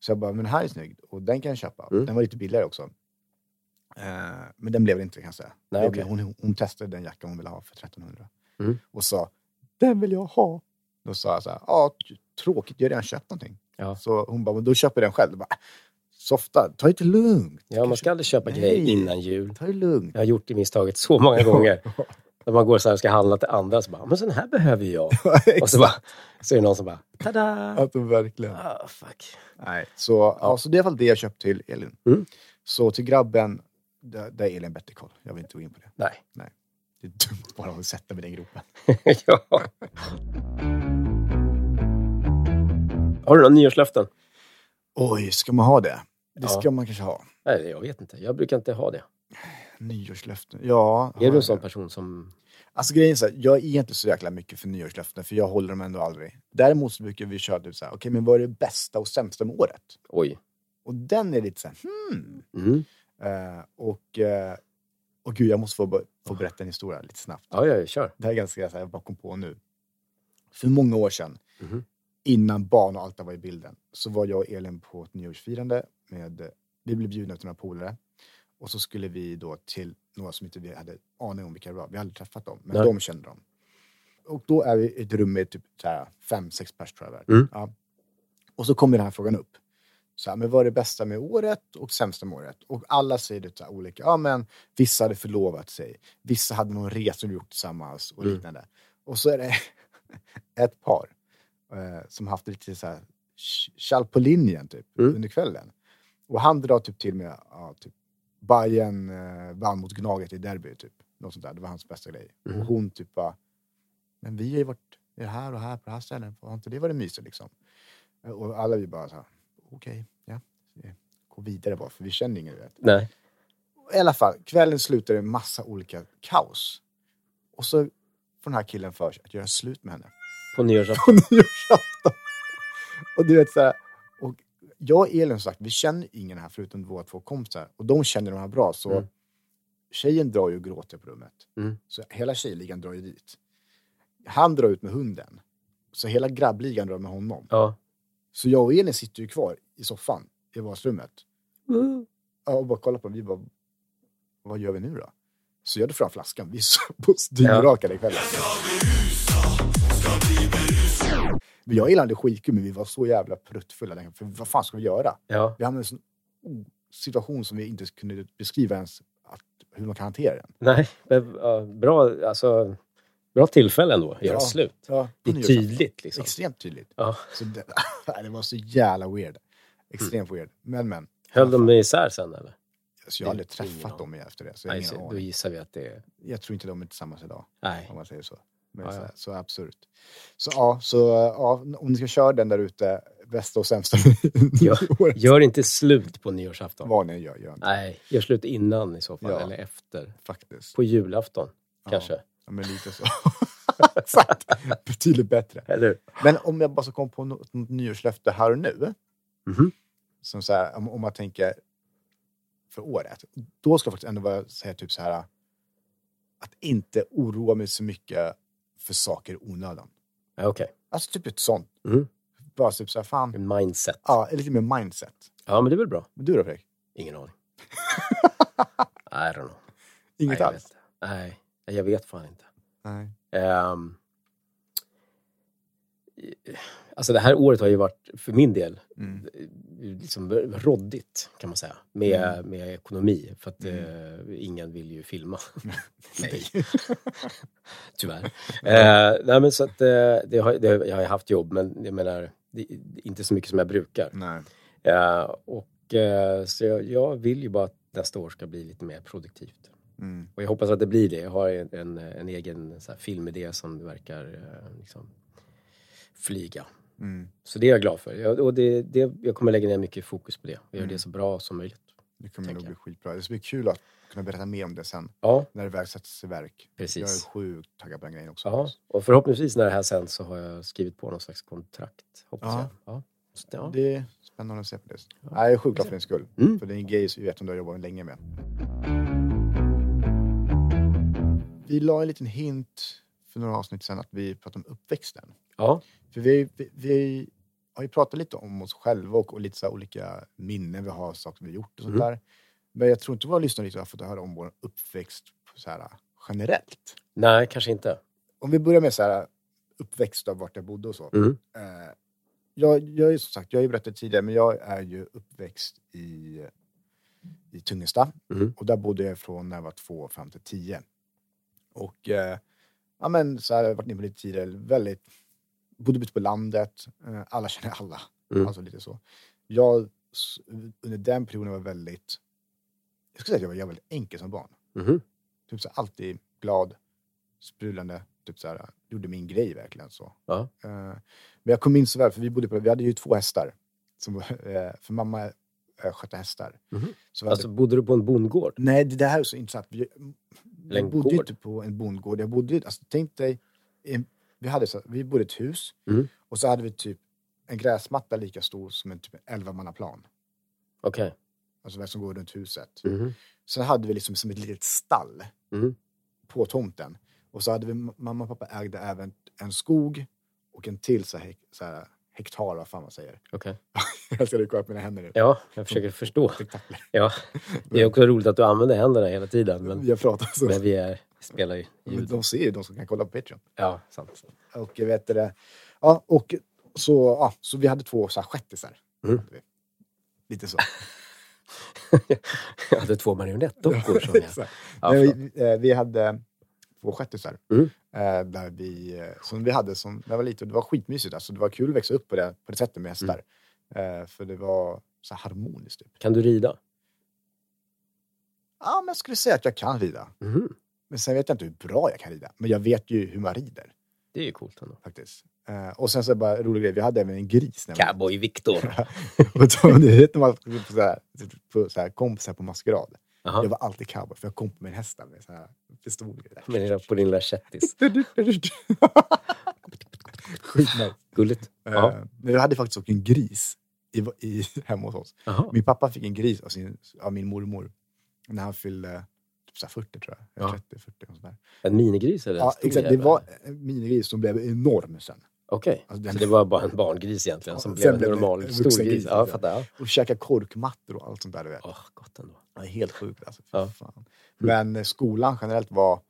[SPEAKER 2] Så jag bara, men den här är snygg och den kan jag köpa.
[SPEAKER 1] Mm.
[SPEAKER 2] Den var lite billigare också. Eh, men den blev det inte kan jag säga.
[SPEAKER 1] Nej,
[SPEAKER 2] Det
[SPEAKER 1] okej.
[SPEAKER 2] blev, hon, hon testade den jackan hon ville ha för 1300.
[SPEAKER 1] Mm.
[SPEAKER 2] Och sa, den vill jag ha. Då sa jag så här, ja, t- tråkigt, jag har redan köpt någonting.
[SPEAKER 1] Ja.
[SPEAKER 2] Så hon bara, men då köper jag den själv. Jag Bara, Softa, ta det lugnt.
[SPEAKER 1] Ja, man ska aldrig köpa
[SPEAKER 2] Nej.
[SPEAKER 1] grejer innan jul.
[SPEAKER 2] Ta det lugnt.
[SPEAKER 1] Jag har gjort det misstaget så många
[SPEAKER 2] (laughs)
[SPEAKER 1] gånger. När man går så här och ska handla till andra så bara, men sån här behöver ju jag. (laughs) Och så, bara, så är det någon som bara, tada!
[SPEAKER 2] Att de verkligen...
[SPEAKER 1] Ah, fuck.
[SPEAKER 2] Nej, så, ja. så det är i alla fall det jag köpt till Elin.
[SPEAKER 1] Mm.
[SPEAKER 2] Så till grabben, där, där är Elin bättre koll. Jag vill inte gå in på det. (laughs)
[SPEAKER 1] Nej.
[SPEAKER 2] Det är dumt bara att sätta mig i den gropen.
[SPEAKER 1] ja. Har du några nyårslöften?
[SPEAKER 2] Oj, ska man ha det? Det
[SPEAKER 1] Ja.
[SPEAKER 2] ska man kanske ha.
[SPEAKER 1] Nej, jag vet inte. Jag brukar inte ha det.
[SPEAKER 2] Nyårslöften. Ja. har
[SPEAKER 1] Är du en
[SPEAKER 2] jag
[SPEAKER 1] sån
[SPEAKER 2] det?
[SPEAKER 1] person som...
[SPEAKER 2] Alltså grejen är så här, jag är inte så jäkla mycket för nyårslöften, för jag håller dem ändå aldrig. Däremot så brukar vi köra typ så här, okej, men vad är det bästa och sämsta med året?
[SPEAKER 1] Oj.
[SPEAKER 2] Och den är lite så här, hmm.
[SPEAKER 1] Mm.
[SPEAKER 2] Eh, och, eh, och gud, jag måste få, få berätta en historia lite snabbt.
[SPEAKER 1] Ja, ja, ja, kör.
[SPEAKER 2] Det här är ganska så här, jag bara kom på nu. För många år sedan,
[SPEAKER 1] Mhm.
[SPEAKER 2] innan barn och allt det var i bilden, så var jag och Elin på ett nyårsfirande. Med, vi blev bjudna av några polare. Och så skulle vi då till några som inte vi hade aning om vilka det var. Vi hade aldrig träffat dem, men
[SPEAKER 1] Nej.
[SPEAKER 2] de kände dem. Och då är vi i ett rum med typ så här, fem, sex pers tror jag det är.
[SPEAKER 1] Mm.
[SPEAKER 2] ja. Och så kommer den här frågan upp. Så här, men vad är det bästa med året och sämsta med året? Och alla säger det så här olika. Ja, men vissa hade förlovat sig. Vissa hade någon resa de gjort tillsammans och
[SPEAKER 1] Mm.
[SPEAKER 2] liknande. Och så är det (laughs) ett par eh, som haft lite så här ch- tjall på linjen typ
[SPEAKER 1] Mm.
[SPEAKER 2] under kvällen. Och han drar typ till med ja, typ Bayern eh, vann mot Gnaget i derby typ. Något sånt där. Det var hans bästa grej.
[SPEAKER 1] Mhm.
[SPEAKER 2] Och hon typ bara, men vi har ju varit det är här och här på det här stället. Har inte det varit mysigt liksom? Och alla vi bara så här, okej, ja. Gå vidare bara, för vi känner ingen rätt.
[SPEAKER 1] Nej.
[SPEAKER 2] I alla fall, kvällen slutar i en massa olika kaos. Och så får den här killen för sig att göra slut med henne. (laughs)
[SPEAKER 1] På nyårsafton.
[SPEAKER 2] på nyårsafton. Och du vet så här, och jag och Elin som sagt, vi känner ingen här förutom våra två kompisar. Och de känner de här bra, så
[SPEAKER 1] Mm.
[SPEAKER 2] tjejen drar ju och gråter på rummet.
[SPEAKER 1] Mm.
[SPEAKER 2] Så hela tjejligan drar ju dit. Han drar ut med hunden. Så hela grabbligan drar med honom.
[SPEAKER 1] Ja.
[SPEAKER 2] Så jag och Elin sitter ju kvar i soffan i vardagsrummet. Ja, och bara kollar på dem. Vi bara, vad gör vi nu då? Så jag drar fram flaskan. Vi är så dyngrakade i kvällen. Men jag gillade skitkul, men vi var så jävla pruttfulla. den gången, För vad fan ska vi göra?
[SPEAKER 1] Ja.
[SPEAKER 2] Vi hamnade i en sån o- situation som vi inte kunde beskriva ens att, hur man kan hantera den.
[SPEAKER 1] Nej, men, ja, bra, alltså, bra tillfälle ändå. Göra
[SPEAKER 2] Ja.
[SPEAKER 1] slut.
[SPEAKER 2] Ja,
[SPEAKER 1] Det är tydligt liksom.
[SPEAKER 2] Extremt tydligt.
[SPEAKER 1] Ja.
[SPEAKER 2] Så det, (laughs) det var så jävla weird. Extremt weird. Men, men.
[SPEAKER 1] Höll de isär sen eller?
[SPEAKER 2] Alltså, jag har aldrig
[SPEAKER 1] Det är ingen
[SPEAKER 2] träffat
[SPEAKER 1] aning.
[SPEAKER 2] dem efter det. Så jag, har
[SPEAKER 1] Nej,
[SPEAKER 2] ingen
[SPEAKER 1] så, då
[SPEAKER 2] aning.
[SPEAKER 1] gissar vi att det är...
[SPEAKER 2] jag tror inte de är tillsammans idag.
[SPEAKER 1] Nej.
[SPEAKER 2] om man säger så. Men
[SPEAKER 1] Ja,
[SPEAKER 2] så,
[SPEAKER 1] ja.
[SPEAKER 2] så absurt. Så ja, så ja, om ni ska köra den där ute, bästa och sämsta (laughs) nyåret.
[SPEAKER 1] Gör inte slut på nyårsafton.
[SPEAKER 2] Vad ni gör, gör inte
[SPEAKER 1] Nej, gör slut innan i så fall,
[SPEAKER 2] Ja.
[SPEAKER 1] eller efter.
[SPEAKER 2] faktiskt.
[SPEAKER 1] På julafton,
[SPEAKER 2] Ja.
[SPEAKER 1] kanske.
[SPEAKER 2] Ja, men lite så. (laughs) Exakt. Betydligt bättre.
[SPEAKER 1] Eller
[SPEAKER 2] Men om jag bara så kom på något, något nyårslöfte här och nu,
[SPEAKER 1] Mhm.
[SPEAKER 2] som så här, om, om man tänker för året, då ska jag faktiskt ändå vara, säga typ så här, att inte oroa mig så mycket för saker i onödan.
[SPEAKER 1] Ja, Okej,
[SPEAKER 2] Alltså typ ett sånt.
[SPEAKER 1] Mm.
[SPEAKER 2] Bara typ så här, fan,
[SPEAKER 1] En mindset.
[SPEAKER 2] Ja, lite mer mindset.
[SPEAKER 1] Ja, men det är väl bra.
[SPEAKER 2] Men du då Fredrik?
[SPEAKER 1] Ingen
[SPEAKER 2] (laughs)
[SPEAKER 1] aning. I don't know. Nej,
[SPEAKER 2] Inget
[SPEAKER 1] jag
[SPEAKER 2] alls?
[SPEAKER 1] vet inte. Nej, jag vet fan inte.
[SPEAKER 2] Nej.
[SPEAKER 1] Ehm, alltså det här året har ju varit, för min del,
[SPEAKER 2] Mm.
[SPEAKER 1] liksom råddigt kan man säga. Med,
[SPEAKER 2] Mm.
[SPEAKER 1] med ekonomi. För att
[SPEAKER 2] Mm.
[SPEAKER 1] eh, ingen vill ju filma. Nej,
[SPEAKER 2] (laughs) Nej.
[SPEAKER 1] tyvärr. Eh, nej, men så att, eh, det har, det, har- jag har ju haft jobb, men jag menar, det, det är inte så mycket som jag brukar.
[SPEAKER 2] Nej.
[SPEAKER 1] Eh, och, eh, så jag, jag vill ju bara att nästa år ska bli lite mer produktivt.
[SPEAKER 2] Mm.
[SPEAKER 1] Och jag hoppas att det blir det. Jag har en, en, en egen så här, filmidé som verkar eh, liksom, flyga.
[SPEAKER 2] Mm.
[SPEAKER 1] Så det är jag glad för. Jag, och det, det, jag kommer lägga ner mycket fokus på det och göra
[SPEAKER 2] Mm.
[SPEAKER 1] det så bra som möjligt.
[SPEAKER 2] Det kommer nog
[SPEAKER 1] Tänker
[SPEAKER 2] bli
[SPEAKER 1] jag.
[SPEAKER 2] skitbra. Det ska bli kul att kunna berätta mer om det sen,
[SPEAKER 1] Ja,
[SPEAKER 2] när det väl sätts i verk. Jag
[SPEAKER 1] precis.
[SPEAKER 2] är sjukt taggad på den grejen också.
[SPEAKER 1] Ja, och förhoppningsvis när det här sen så har jag skrivit på någon slags kontrakt. Hoppas
[SPEAKER 2] Ja.
[SPEAKER 1] jag. Ja. Så, ja.
[SPEAKER 2] Det är spännande att se på det. Nej, jag är sjukt glad för din skull.
[SPEAKER 1] Mm.
[SPEAKER 2] För det är en grej som vi vet om du har jobbat länge med. Vi la en liten hint för några avsnitt sedan att vi pratade om uppväxten.
[SPEAKER 1] ja.
[SPEAKER 2] För vi, vi, vi har ju pratat lite om oss själva och, och lite så här olika minnen vi har, saker vi har gjort och sånt
[SPEAKER 1] Mm.
[SPEAKER 2] där. Men jag tror inte våra lyssnare riktigt har fått höra om vår uppväxt så här, generellt.
[SPEAKER 1] Nej, kanske inte.
[SPEAKER 2] Om vi börjar med så här, äh, uppväxt av vart jag bodde och så.
[SPEAKER 1] Mm.
[SPEAKER 2] Eh, jag, jag är som sagt, jag har ju berättat tidigare, men jag är ju uppväxt i, i Tungesta.
[SPEAKER 1] Mm.
[SPEAKER 2] Och där bodde jag från när jag var två fram till tio. Och eh, ja, men så här, har jag varit inne på lite tidigare, väldigt, bodde ute på landet, eh, alla känner alla.
[SPEAKER 1] Mm.
[SPEAKER 2] Alltså lite så. Jag s- under den perioden var väldigt, jag skulle säga att jag var, jag var väldigt enkel som barn.
[SPEAKER 1] Mhm.
[SPEAKER 2] Typ så här, alltid glad, sprudlande, typ så här, gjorde min grej verkligen så.
[SPEAKER 1] Ja.
[SPEAKER 2] Eh, men jag kom in så väl, för vi bodde på, vi hade ju två hästar. Som, eh, för mamma eh, skötte hästar.
[SPEAKER 1] Mhm.
[SPEAKER 2] Så vi hade
[SPEAKER 1] Alltså, bodde du på en bondgård?
[SPEAKER 2] Nej, det där är så intressant. Vi,
[SPEAKER 1] Eller
[SPEAKER 2] jag
[SPEAKER 1] en
[SPEAKER 2] bodde ju
[SPEAKER 1] gård.
[SPEAKER 2] inte på en bondgård. Jag bodde, ju- alltså, tänk dig, en, vi, hade så, vi bodde i ett hus
[SPEAKER 1] Mm.
[SPEAKER 2] och så hade vi typ en gräsmatta lika stor som en typ 11-mannaplan.
[SPEAKER 1] Okej.
[SPEAKER 2] Alltså den som går runt huset.
[SPEAKER 1] Mhm.
[SPEAKER 2] Sen hade vi liksom som ett litet stall
[SPEAKER 1] Mm.
[SPEAKER 2] på tomten. Och så hade vi, mamma och pappa ägde även en skog och en till så här, hek- så här, hektar, vad fan man säger. (laughs)
[SPEAKER 1] Okej.
[SPEAKER 2] Jag älskar att kolla på mina händer nu.
[SPEAKER 1] Ja, jag försöker förstå.
[SPEAKER 2] Spektakler.
[SPEAKER 1] Ja. Det är också roligt att du använder händerna hela tiden, men,
[SPEAKER 2] Jag pratar så.
[SPEAKER 1] men vi är, spelar ju
[SPEAKER 2] Men
[SPEAKER 1] ljud.
[SPEAKER 2] de ser ju, de som kan kolla på Patreon.
[SPEAKER 1] Ja, sant.
[SPEAKER 2] Och jag vet det. Ja, och så, ja, så vi hade två så här shettisar.
[SPEAKER 1] Mm.
[SPEAKER 2] hade vi. Lite så.
[SPEAKER 1] Jag hade två marionettdockor som
[SPEAKER 2] (laughs)
[SPEAKER 1] jag...
[SPEAKER 2] Exakt.
[SPEAKER 1] Ja,
[SPEAKER 2] Men
[SPEAKER 1] förlåt.
[SPEAKER 2] vi, eh, vi hade två shettisar.
[SPEAKER 1] Mm.
[SPEAKER 2] eh, Där vi, eh, som vi hade som, när jag var liten. Och Det var skitmysigt. Alltså, det var kul att växa upp på det, på det sättet med hästar.
[SPEAKER 1] Mm.
[SPEAKER 2] Eh, För det var så här harmoniskt. Typ.
[SPEAKER 1] kan du rida?
[SPEAKER 2] Ja, men jag skulle säga att jag kan rida.
[SPEAKER 1] Mhm.
[SPEAKER 2] Men sen vet jag inte hur bra jag kan rida. Men jag vet ju hur man rider.
[SPEAKER 1] Det är ju coolt ändå.
[SPEAKER 2] faktiskt. Eh, och sen så bara rolig grej, vi hade även en gris. nämligen.
[SPEAKER 1] Cowboy (laughs) Victor.
[SPEAKER 2] Och så, (laughs) ni vet när man skulle på, så här, på så här, kompisar på maskerad.
[SPEAKER 1] Aha.
[SPEAKER 2] Jag var alltid cowboy, för jag kom på min häst där med så här pistoler. Där.
[SPEAKER 1] Med dina- på din lilla kättis.
[SPEAKER 2] (laughs) Sjukt nice.
[SPEAKER 1] Gulligt. Ja.
[SPEAKER 2] Eh, Men jag hade faktiskt också en gris i, i, (laughs) hemma hos oss.
[SPEAKER 1] Aha.
[SPEAKER 2] Min pappa fick en gris av, sin, av min mormor när han fyllde typ så här 40, tror jag.
[SPEAKER 1] Ja.
[SPEAKER 2] 30, 40. Och sånt där.
[SPEAKER 1] En minigris eller? en
[SPEAKER 2] Ja,
[SPEAKER 1] stor
[SPEAKER 2] exakt. Det
[SPEAKER 1] jävel?
[SPEAKER 2] var en minigris som blev enorm sen.
[SPEAKER 1] Okej,
[SPEAKER 2] Alltså, den-
[SPEAKER 1] så det var bara en barngris egentligen som
[SPEAKER 2] Ja,
[SPEAKER 1] blev
[SPEAKER 2] sen
[SPEAKER 1] en
[SPEAKER 2] blev det
[SPEAKER 1] normal
[SPEAKER 2] en
[SPEAKER 1] stor
[SPEAKER 2] vuxen
[SPEAKER 1] gris.
[SPEAKER 2] gris,
[SPEAKER 1] Ja, jag
[SPEAKER 2] ja.
[SPEAKER 1] fattar. Ja.
[SPEAKER 2] Och käka korkmattor och allt sånt där. Du vet.
[SPEAKER 1] Åh, gott ändå.
[SPEAKER 2] Det är helt sjukt alltså. Fy
[SPEAKER 1] Ja.
[SPEAKER 2] Fan. Men eh, skolan generellt var...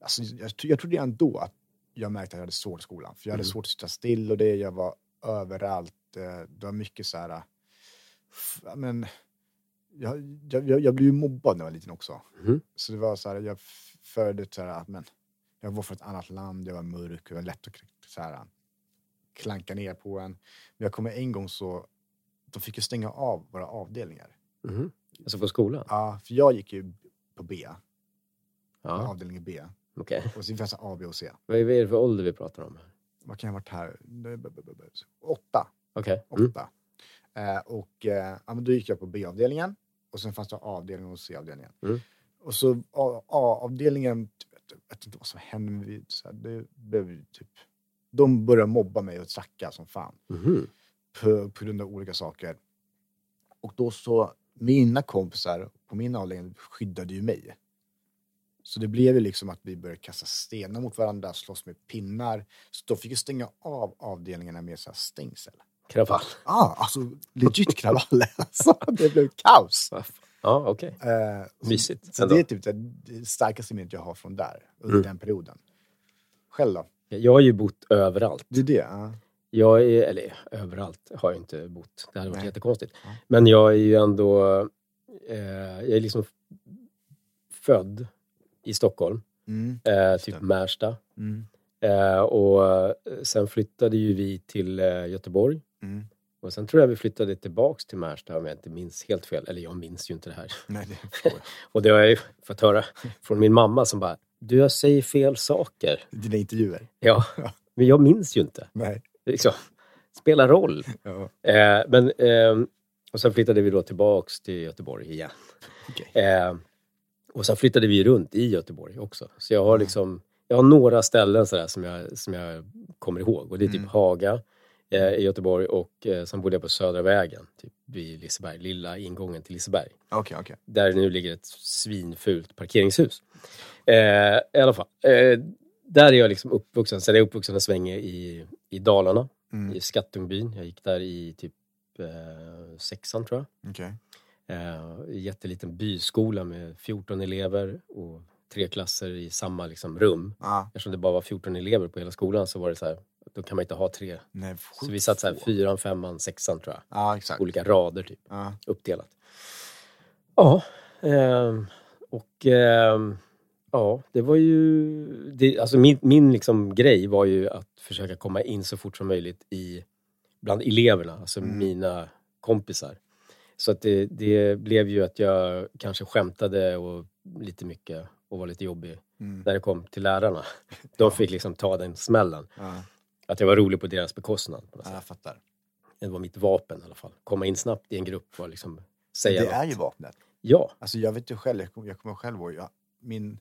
[SPEAKER 2] Alltså, jag, tro- jag trodde ändå att jag märkte att jag hade svårt i skolan. För jag hade
[SPEAKER 1] Mm.
[SPEAKER 2] svårt att sitta still och det, jag var överallt. eh, Det var mycket så här... eh, f- ja, Men, jag, jag, jag, jag blev ju mobbad när jag var liten också.
[SPEAKER 1] Mhm.
[SPEAKER 2] Så det var så här, jag f- föddes så här att men, jag var från ett annat land, jag var mörk, det var lätt att k- så här, klanka ner på en. Men jag kommer en gång så, de fick ju stänga av våra avdelningar.
[SPEAKER 1] Mhm. Alltså på skolan?
[SPEAKER 2] Ja, för jag gick ju på B,
[SPEAKER 1] Ja,
[SPEAKER 2] avdelning B.
[SPEAKER 1] okej.
[SPEAKER 2] Och sen fanns det A, B och C.
[SPEAKER 1] Vad är vad är det för ålder vi pratar om?
[SPEAKER 2] Vad kan jag ha varit här? Åtta.
[SPEAKER 1] Okej. Mm.
[SPEAKER 2] åtta. Eh, och eh, ja, men då gick jag på B-avdelningen och sen fanns det A-avdelningen och C-avdelningen.
[SPEAKER 1] Mm.
[SPEAKER 2] Och så A- A-avdelningen, jag vet inte vad som hände, men vi- så här, det blev ju typ, de började mobba mig och sacka som fan
[SPEAKER 1] Mhm.
[SPEAKER 2] på, på grund av olika saker. Och då så, mina kompisar på min avdelning skyddade ju mig. Så det blev ju liksom att vi började kasta stenar mot varandra, slåss med pinnar. Så då fick jag stänga av avdelningarna med så här stängsel.
[SPEAKER 1] Kravall.
[SPEAKER 2] Ja, alltså legit kravaller. (laughs) Alltså, det blev kaos.
[SPEAKER 1] Ja, okej.
[SPEAKER 2] Eh, så-
[SPEAKER 1] Mysigt
[SPEAKER 2] Så
[SPEAKER 1] ändå.
[SPEAKER 2] det är typ det, det starkaste minnet jag har från där, under
[SPEAKER 1] Mm.
[SPEAKER 2] den perioden. Själv då?
[SPEAKER 1] Jag har ju bott överallt.
[SPEAKER 2] Det är det? ja.
[SPEAKER 1] Jag är, eller överallt har jag inte bott. Det hade varit
[SPEAKER 2] Nej.
[SPEAKER 1] jättekonstigt.
[SPEAKER 2] Ja.
[SPEAKER 1] Men jag är ju ändå... Eh, jag är liksom f- född i Stockholm,
[SPEAKER 2] Mm,
[SPEAKER 1] eh,
[SPEAKER 2] Just
[SPEAKER 1] typ
[SPEAKER 2] det.
[SPEAKER 1] Märsta.
[SPEAKER 2] mm,
[SPEAKER 1] Eh, och eh, sen flyttade ju vi till eh, Göteborg.
[SPEAKER 2] mm.
[SPEAKER 1] Och sen tror jag vi flyttade tillbaks till Märsta om jag inte minns helt fel. Eller jag minns ju inte det här.
[SPEAKER 2] Nej, det förstår jag.
[SPEAKER 1] Och det har jag ju fått höra från min mamma som bara, du jag säger fel saker.
[SPEAKER 2] Dina intervjuer?
[SPEAKER 1] Ja, men jag minns ju inte.
[SPEAKER 2] Nej.
[SPEAKER 1] Liksom, spelar roll.
[SPEAKER 2] Ja,
[SPEAKER 1] Eh, men, ehm, och sen flyttade vi då tillbaks till Göteborg igen.
[SPEAKER 2] okej.
[SPEAKER 1] Eh, och sen flyttade vi runt i Göteborg också. Så jag har
[SPEAKER 2] Mm.
[SPEAKER 1] liksom, jag har några ställen sådär som jag, som jag kommer ihåg. Och det är typ
[SPEAKER 2] Mm.
[SPEAKER 1] Haga eh, i Göteborg och eh, sen bodde jag på Södra vägen, typ vid Liseberg, lilla ingången till Liseberg.
[SPEAKER 2] Okej, okej.
[SPEAKER 1] Där nu ligger ett svinfult parkeringshus. Eh, I alla fall, eh, där är jag liksom uppvuxen. Sen är jag uppvuxen en svänge i, i Dalarna,
[SPEAKER 2] Mm,
[SPEAKER 1] i Skattungbyn. Jag gick där i typ eh, sexan tror jag.
[SPEAKER 2] Mm, Okej.
[SPEAKER 1] Eh, jätteliten byskola med 14 elever och tre klasser i samma liksom, rum.
[SPEAKER 2] Ah,
[SPEAKER 1] Eftersom det bara var 14 elever på hela skolan så var det så här, då kan man inte ha tre.
[SPEAKER 2] nej,
[SPEAKER 1] Så
[SPEAKER 2] sjukt
[SPEAKER 1] vi satt så här
[SPEAKER 2] få.
[SPEAKER 1] fyran, femman, sexan tror jag.
[SPEAKER 2] Ja, exakt. Ah,
[SPEAKER 1] Olika rader typ,
[SPEAKER 2] Ja.
[SPEAKER 1] uppdelat. Ja, ehm, och ehm, ja, det var ju... Det, alltså min min liksom grej var ju att försöka komma in så fort som möjligt i, bland eleverna, alltså
[SPEAKER 2] Mm.
[SPEAKER 1] mina kompisar. Så att det, det blev ju att jag kanske skämtade och lite mycket och var lite jobbig
[SPEAKER 2] Mm.
[SPEAKER 1] när det kom till lärarna. De fick liksom ta den smällen.
[SPEAKER 2] ah, Ja,
[SPEAKER 1] Att jag var rolig på deras bekostnad. På något
[SPEAKER 2] ja,
[SPEAKER 1] sätt.
[SPEAKER 2] jag fattar.
[SPEAKER 1] Det var mitt vapen i alla fall. Komma in snabbt i en grupp var liksom säga
[SPEAKER 2] Det är
[SPEAKER 1] något.
[SPEAKER 2] ju vapnet.
[SPEAKER 1] Ja.
[SPEAKER 2] Alltså, jag vet ju själv, jag kommer, jag kommer själv ihåg, jag, min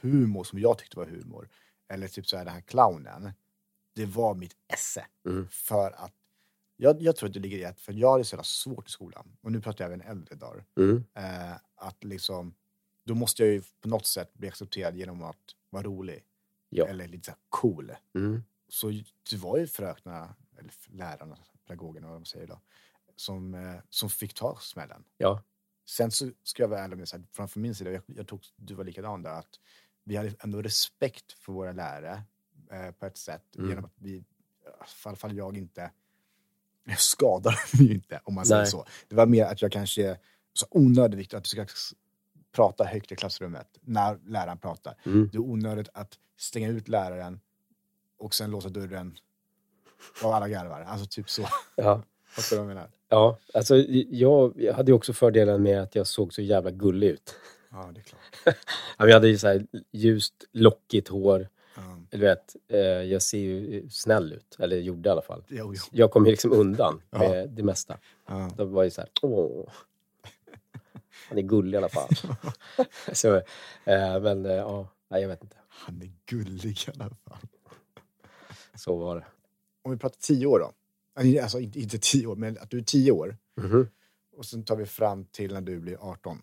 [SPEAKER 2] humor som jag tyckte var humor, eller typ så här den här clownen, det var mitt esse.
[SPEAKER 1] Mm.
[SPEAKER 2] För att, jag, jag tror att det ligger i att, för jag hade så jävla svårt i skolan, och nu pratar jag även äldre dagar,
[SPEAKER 1] Mm.
[SPEAKER 2] eh, att liksom, då måste jag ju på något sätt bli accepterad genom att vara rolig,
[SPEAKER 1] Ja.
[SPEAKER 2] eller lite så här cool.
[SPEAKER 1] Mm.
[SPEAKER 2] Så det var ju fröknarna, eller lärarna, pedagogerna, vad de säger då, som, eh, som fick ta smällen.
[SPEAKER 1] Ja.
[SPEAKER 2] Sen så ska jag vara ärlig med, så här, framför min sida, jag, jag tog, du var likadan där, att vi hade ändå respekt för våra lärare eh, på ett sätt,
[SPEAKER 1] Mm.
[SPEAKER 2] genom att vi, i alla fall jag inte, jag skadade (laughs) dem ju inte om man säger
[SPEAKER 1] Nej.
[SPEAKER 2] så. Det var mer att jag kanske, så onödigt viktigt att du ska s- prata högt i klassrummet när läraren pratar.
[SPEAKER 1] Mm.
[SPEAKER 2] Det är onödigt att stänga ut läraren och sen låsa dörren och alla garvar. Alltså typ så.
[SPEAKER 1] ja.
[SPEAKER 2] Fattar du vad jag menar?
[SPEAKER 1] Ja, alltså jag, jag hade ju också fördelen med att jag såg så jävla gullig ut.
[SPEAKER 2] Ja, det är klart.
[SPEAKER 1] Ja, men Jag hade ju så här ljust, lockigt hår.
[SPEAKER 2] Um,
[SPEAKER 1] du vet, eh, jag ser ju snäll ut. Eller gjorde i alla fall.
[SPEAKER 2] Jo, jo. Um,
[SPEAKER 1] Jag kom ju liksom undan
[SPEAKER 2] Ja.
[SPEAKER 1] med det mesta.
[SPEAKER 2] Ja.
[SPEAKER 1] De var ju så här, åh. Han är gullig i alla (laughs) fall. så, eh, men eh, ja, nej, jag vet inte.
[SPEAKER 2] (laughs) Han är gullig i alla fall.
[SPEAKER 1] Så var det.
[SPEAKER 2] Om vi pratar tio år då. Alltså inte, inte tio år, men att du är tio år.
[SPEAKER 1] Mhm.
[SPEAKER 2] Och sen tar vi fram till när du blir 18.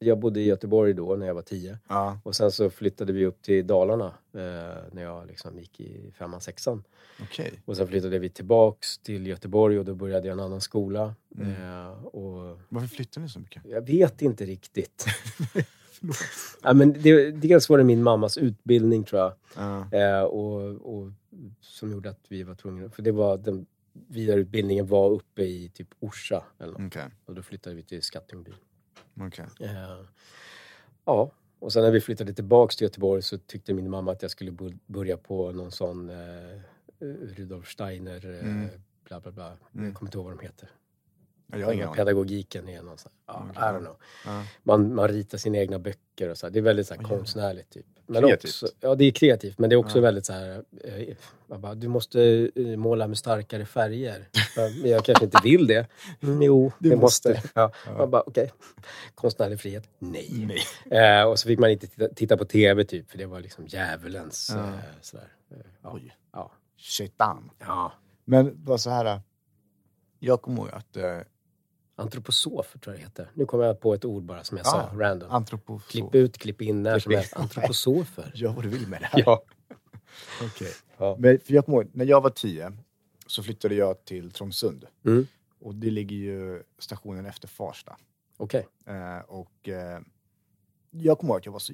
[SPEAKER 1] Jag bodde i Göteborg då när jag var tio.
[SPEAKER 2] Ja,
[SPEAKER 1] Och sen så flyttade vi upp till Dalarna eh, när jag liksom gick i femman, sexan.
[SPEAKER 2] okej.
[SPEAKER 1] Och sen flyttade vi tillbaks till Göteborg och då började jag en annan skola.
[SPEAKER 2] Mm.
[SPEAKER 1] Eh, och
[SPEAKER 2] Varför flyttar ni så mycket?
[SPEAKER 1] jag vet inte riktigt. (laughs)
[SPEAKER 2] Förlåt.
[SPEAKER 1] ja, men det, dels var det min mammas utbildning tror jag.
[SPEAKER 2] Ja.
[SPEAKER 1] Eh, och, och, som gjorde att vi var tvungna... För det var den vidareutbildningen var uppe i typ Orsa eller något.
[SPEAKER 2] Okej,
[SPEAKER 1] Och då flyttade vi till Skattungbyn.
[SPEAKER 2] okej.
[SPEAKER 1] Eh, ja, och sen när vi flyttade tillbaks till Göteborg så tyckte min mamma att jag skulle bu- börja på någon sån eh, Rudolf Steiner, eh,
[SPEAKER 2] Mm.
[SPEAKER 1] bla bla bla.
[SPEAKER 2] Mm.
[SPEAKER 1] Jag kommer inte ihåg vad de heter.
[SPEAKER 2] Ja, Jag har ingen aning. Mm.
[SPEAKER 1] Pedagogiken är någon sån, ja,
[SPEAKER 2] Okej.
[SPEAKER 1] I don't know.
[SPEAKER 2] Ja.
[SPEAKER 1] Man, man ritar sina egna böcker och så här. Det är väldigt så här,
[SPEAKER 2] Oj, jävlar.
[SPEAKER 1] konstnärligt typ. Men
[SPEAKER 2] Kreativt.
[SPEAKER 1] Också, ja, det är kreativt. Men det är också
[SPEAKER 2] Ja.
[SPEAKER 1] väldigt så här, eh, man bara, du måste eh, måla med starkare färger. Ja, Men jag kanske inte vill
[SPEAKER 2] (laughs)
[SPEAKER 1] det. Mm, jo,
[SPEAKER 2] Du
[SPEAKER 1] det måste.
[SPEAKER 2] måste.
[SPEAKER 1] Ja.
[SPEAKER 2] Ja.
[SPEAKER 1] Man bara, okej. Konstnärlig frihet? Nej.
[SPEAKER 2] Nej.
[SPEAKER 1] Eh, och så fick man inte titta, titta på tv typ, för det var liksom djävulens
[SPEAKER 2] Ja.
[SPEAKER 1] eh, sådär. Eh, Ja.
[SPEAKER 2] Oj.
[SPEAKER 1] Ja.
[SPEAKER 2] Shaitan.
[SPEAKER 1] ja.
[SPEAKER 2] Men bara så här. äh, Jag kommer ihåg att eh,
[SPEAKER 1] Antroposofer tror jag det heter. Nu kommer jag på ett ord bara som jag
[SPEAKER 2] Ja,
[SPEAKER 1] sa, random.
[SPEAKER 2] Ah, antroposof...
[SPEAKER 1] Klipp ut, klipp in, när
[SPEAKER 2] Klipp
[SPEAKER 1] som
[SPEAKER 2] in.
[SPEAKER 1] helst.
[SPEAKER 2] (laughs)
[SPEAKER 1] Antroposofer.
[SPEAKER 2] Gör vad du vill med det här.
[SPEAKER 1] Ja.
[SPEAKER 2] Okej.
[SPEAKER 1] Ja.
[SPEAKER 2] Men för jag kommer ihåg, när jag var tio så flyttade jag till Trångsund.
[SPEAKER 1] Mm.
[SPEAKER 2] Och det ligger ju stationen efter Farsta.
[SPEAKER 1] Okej.
[SPEAKER 2] Eh, och eh, jag kommer ihåg att jag var så...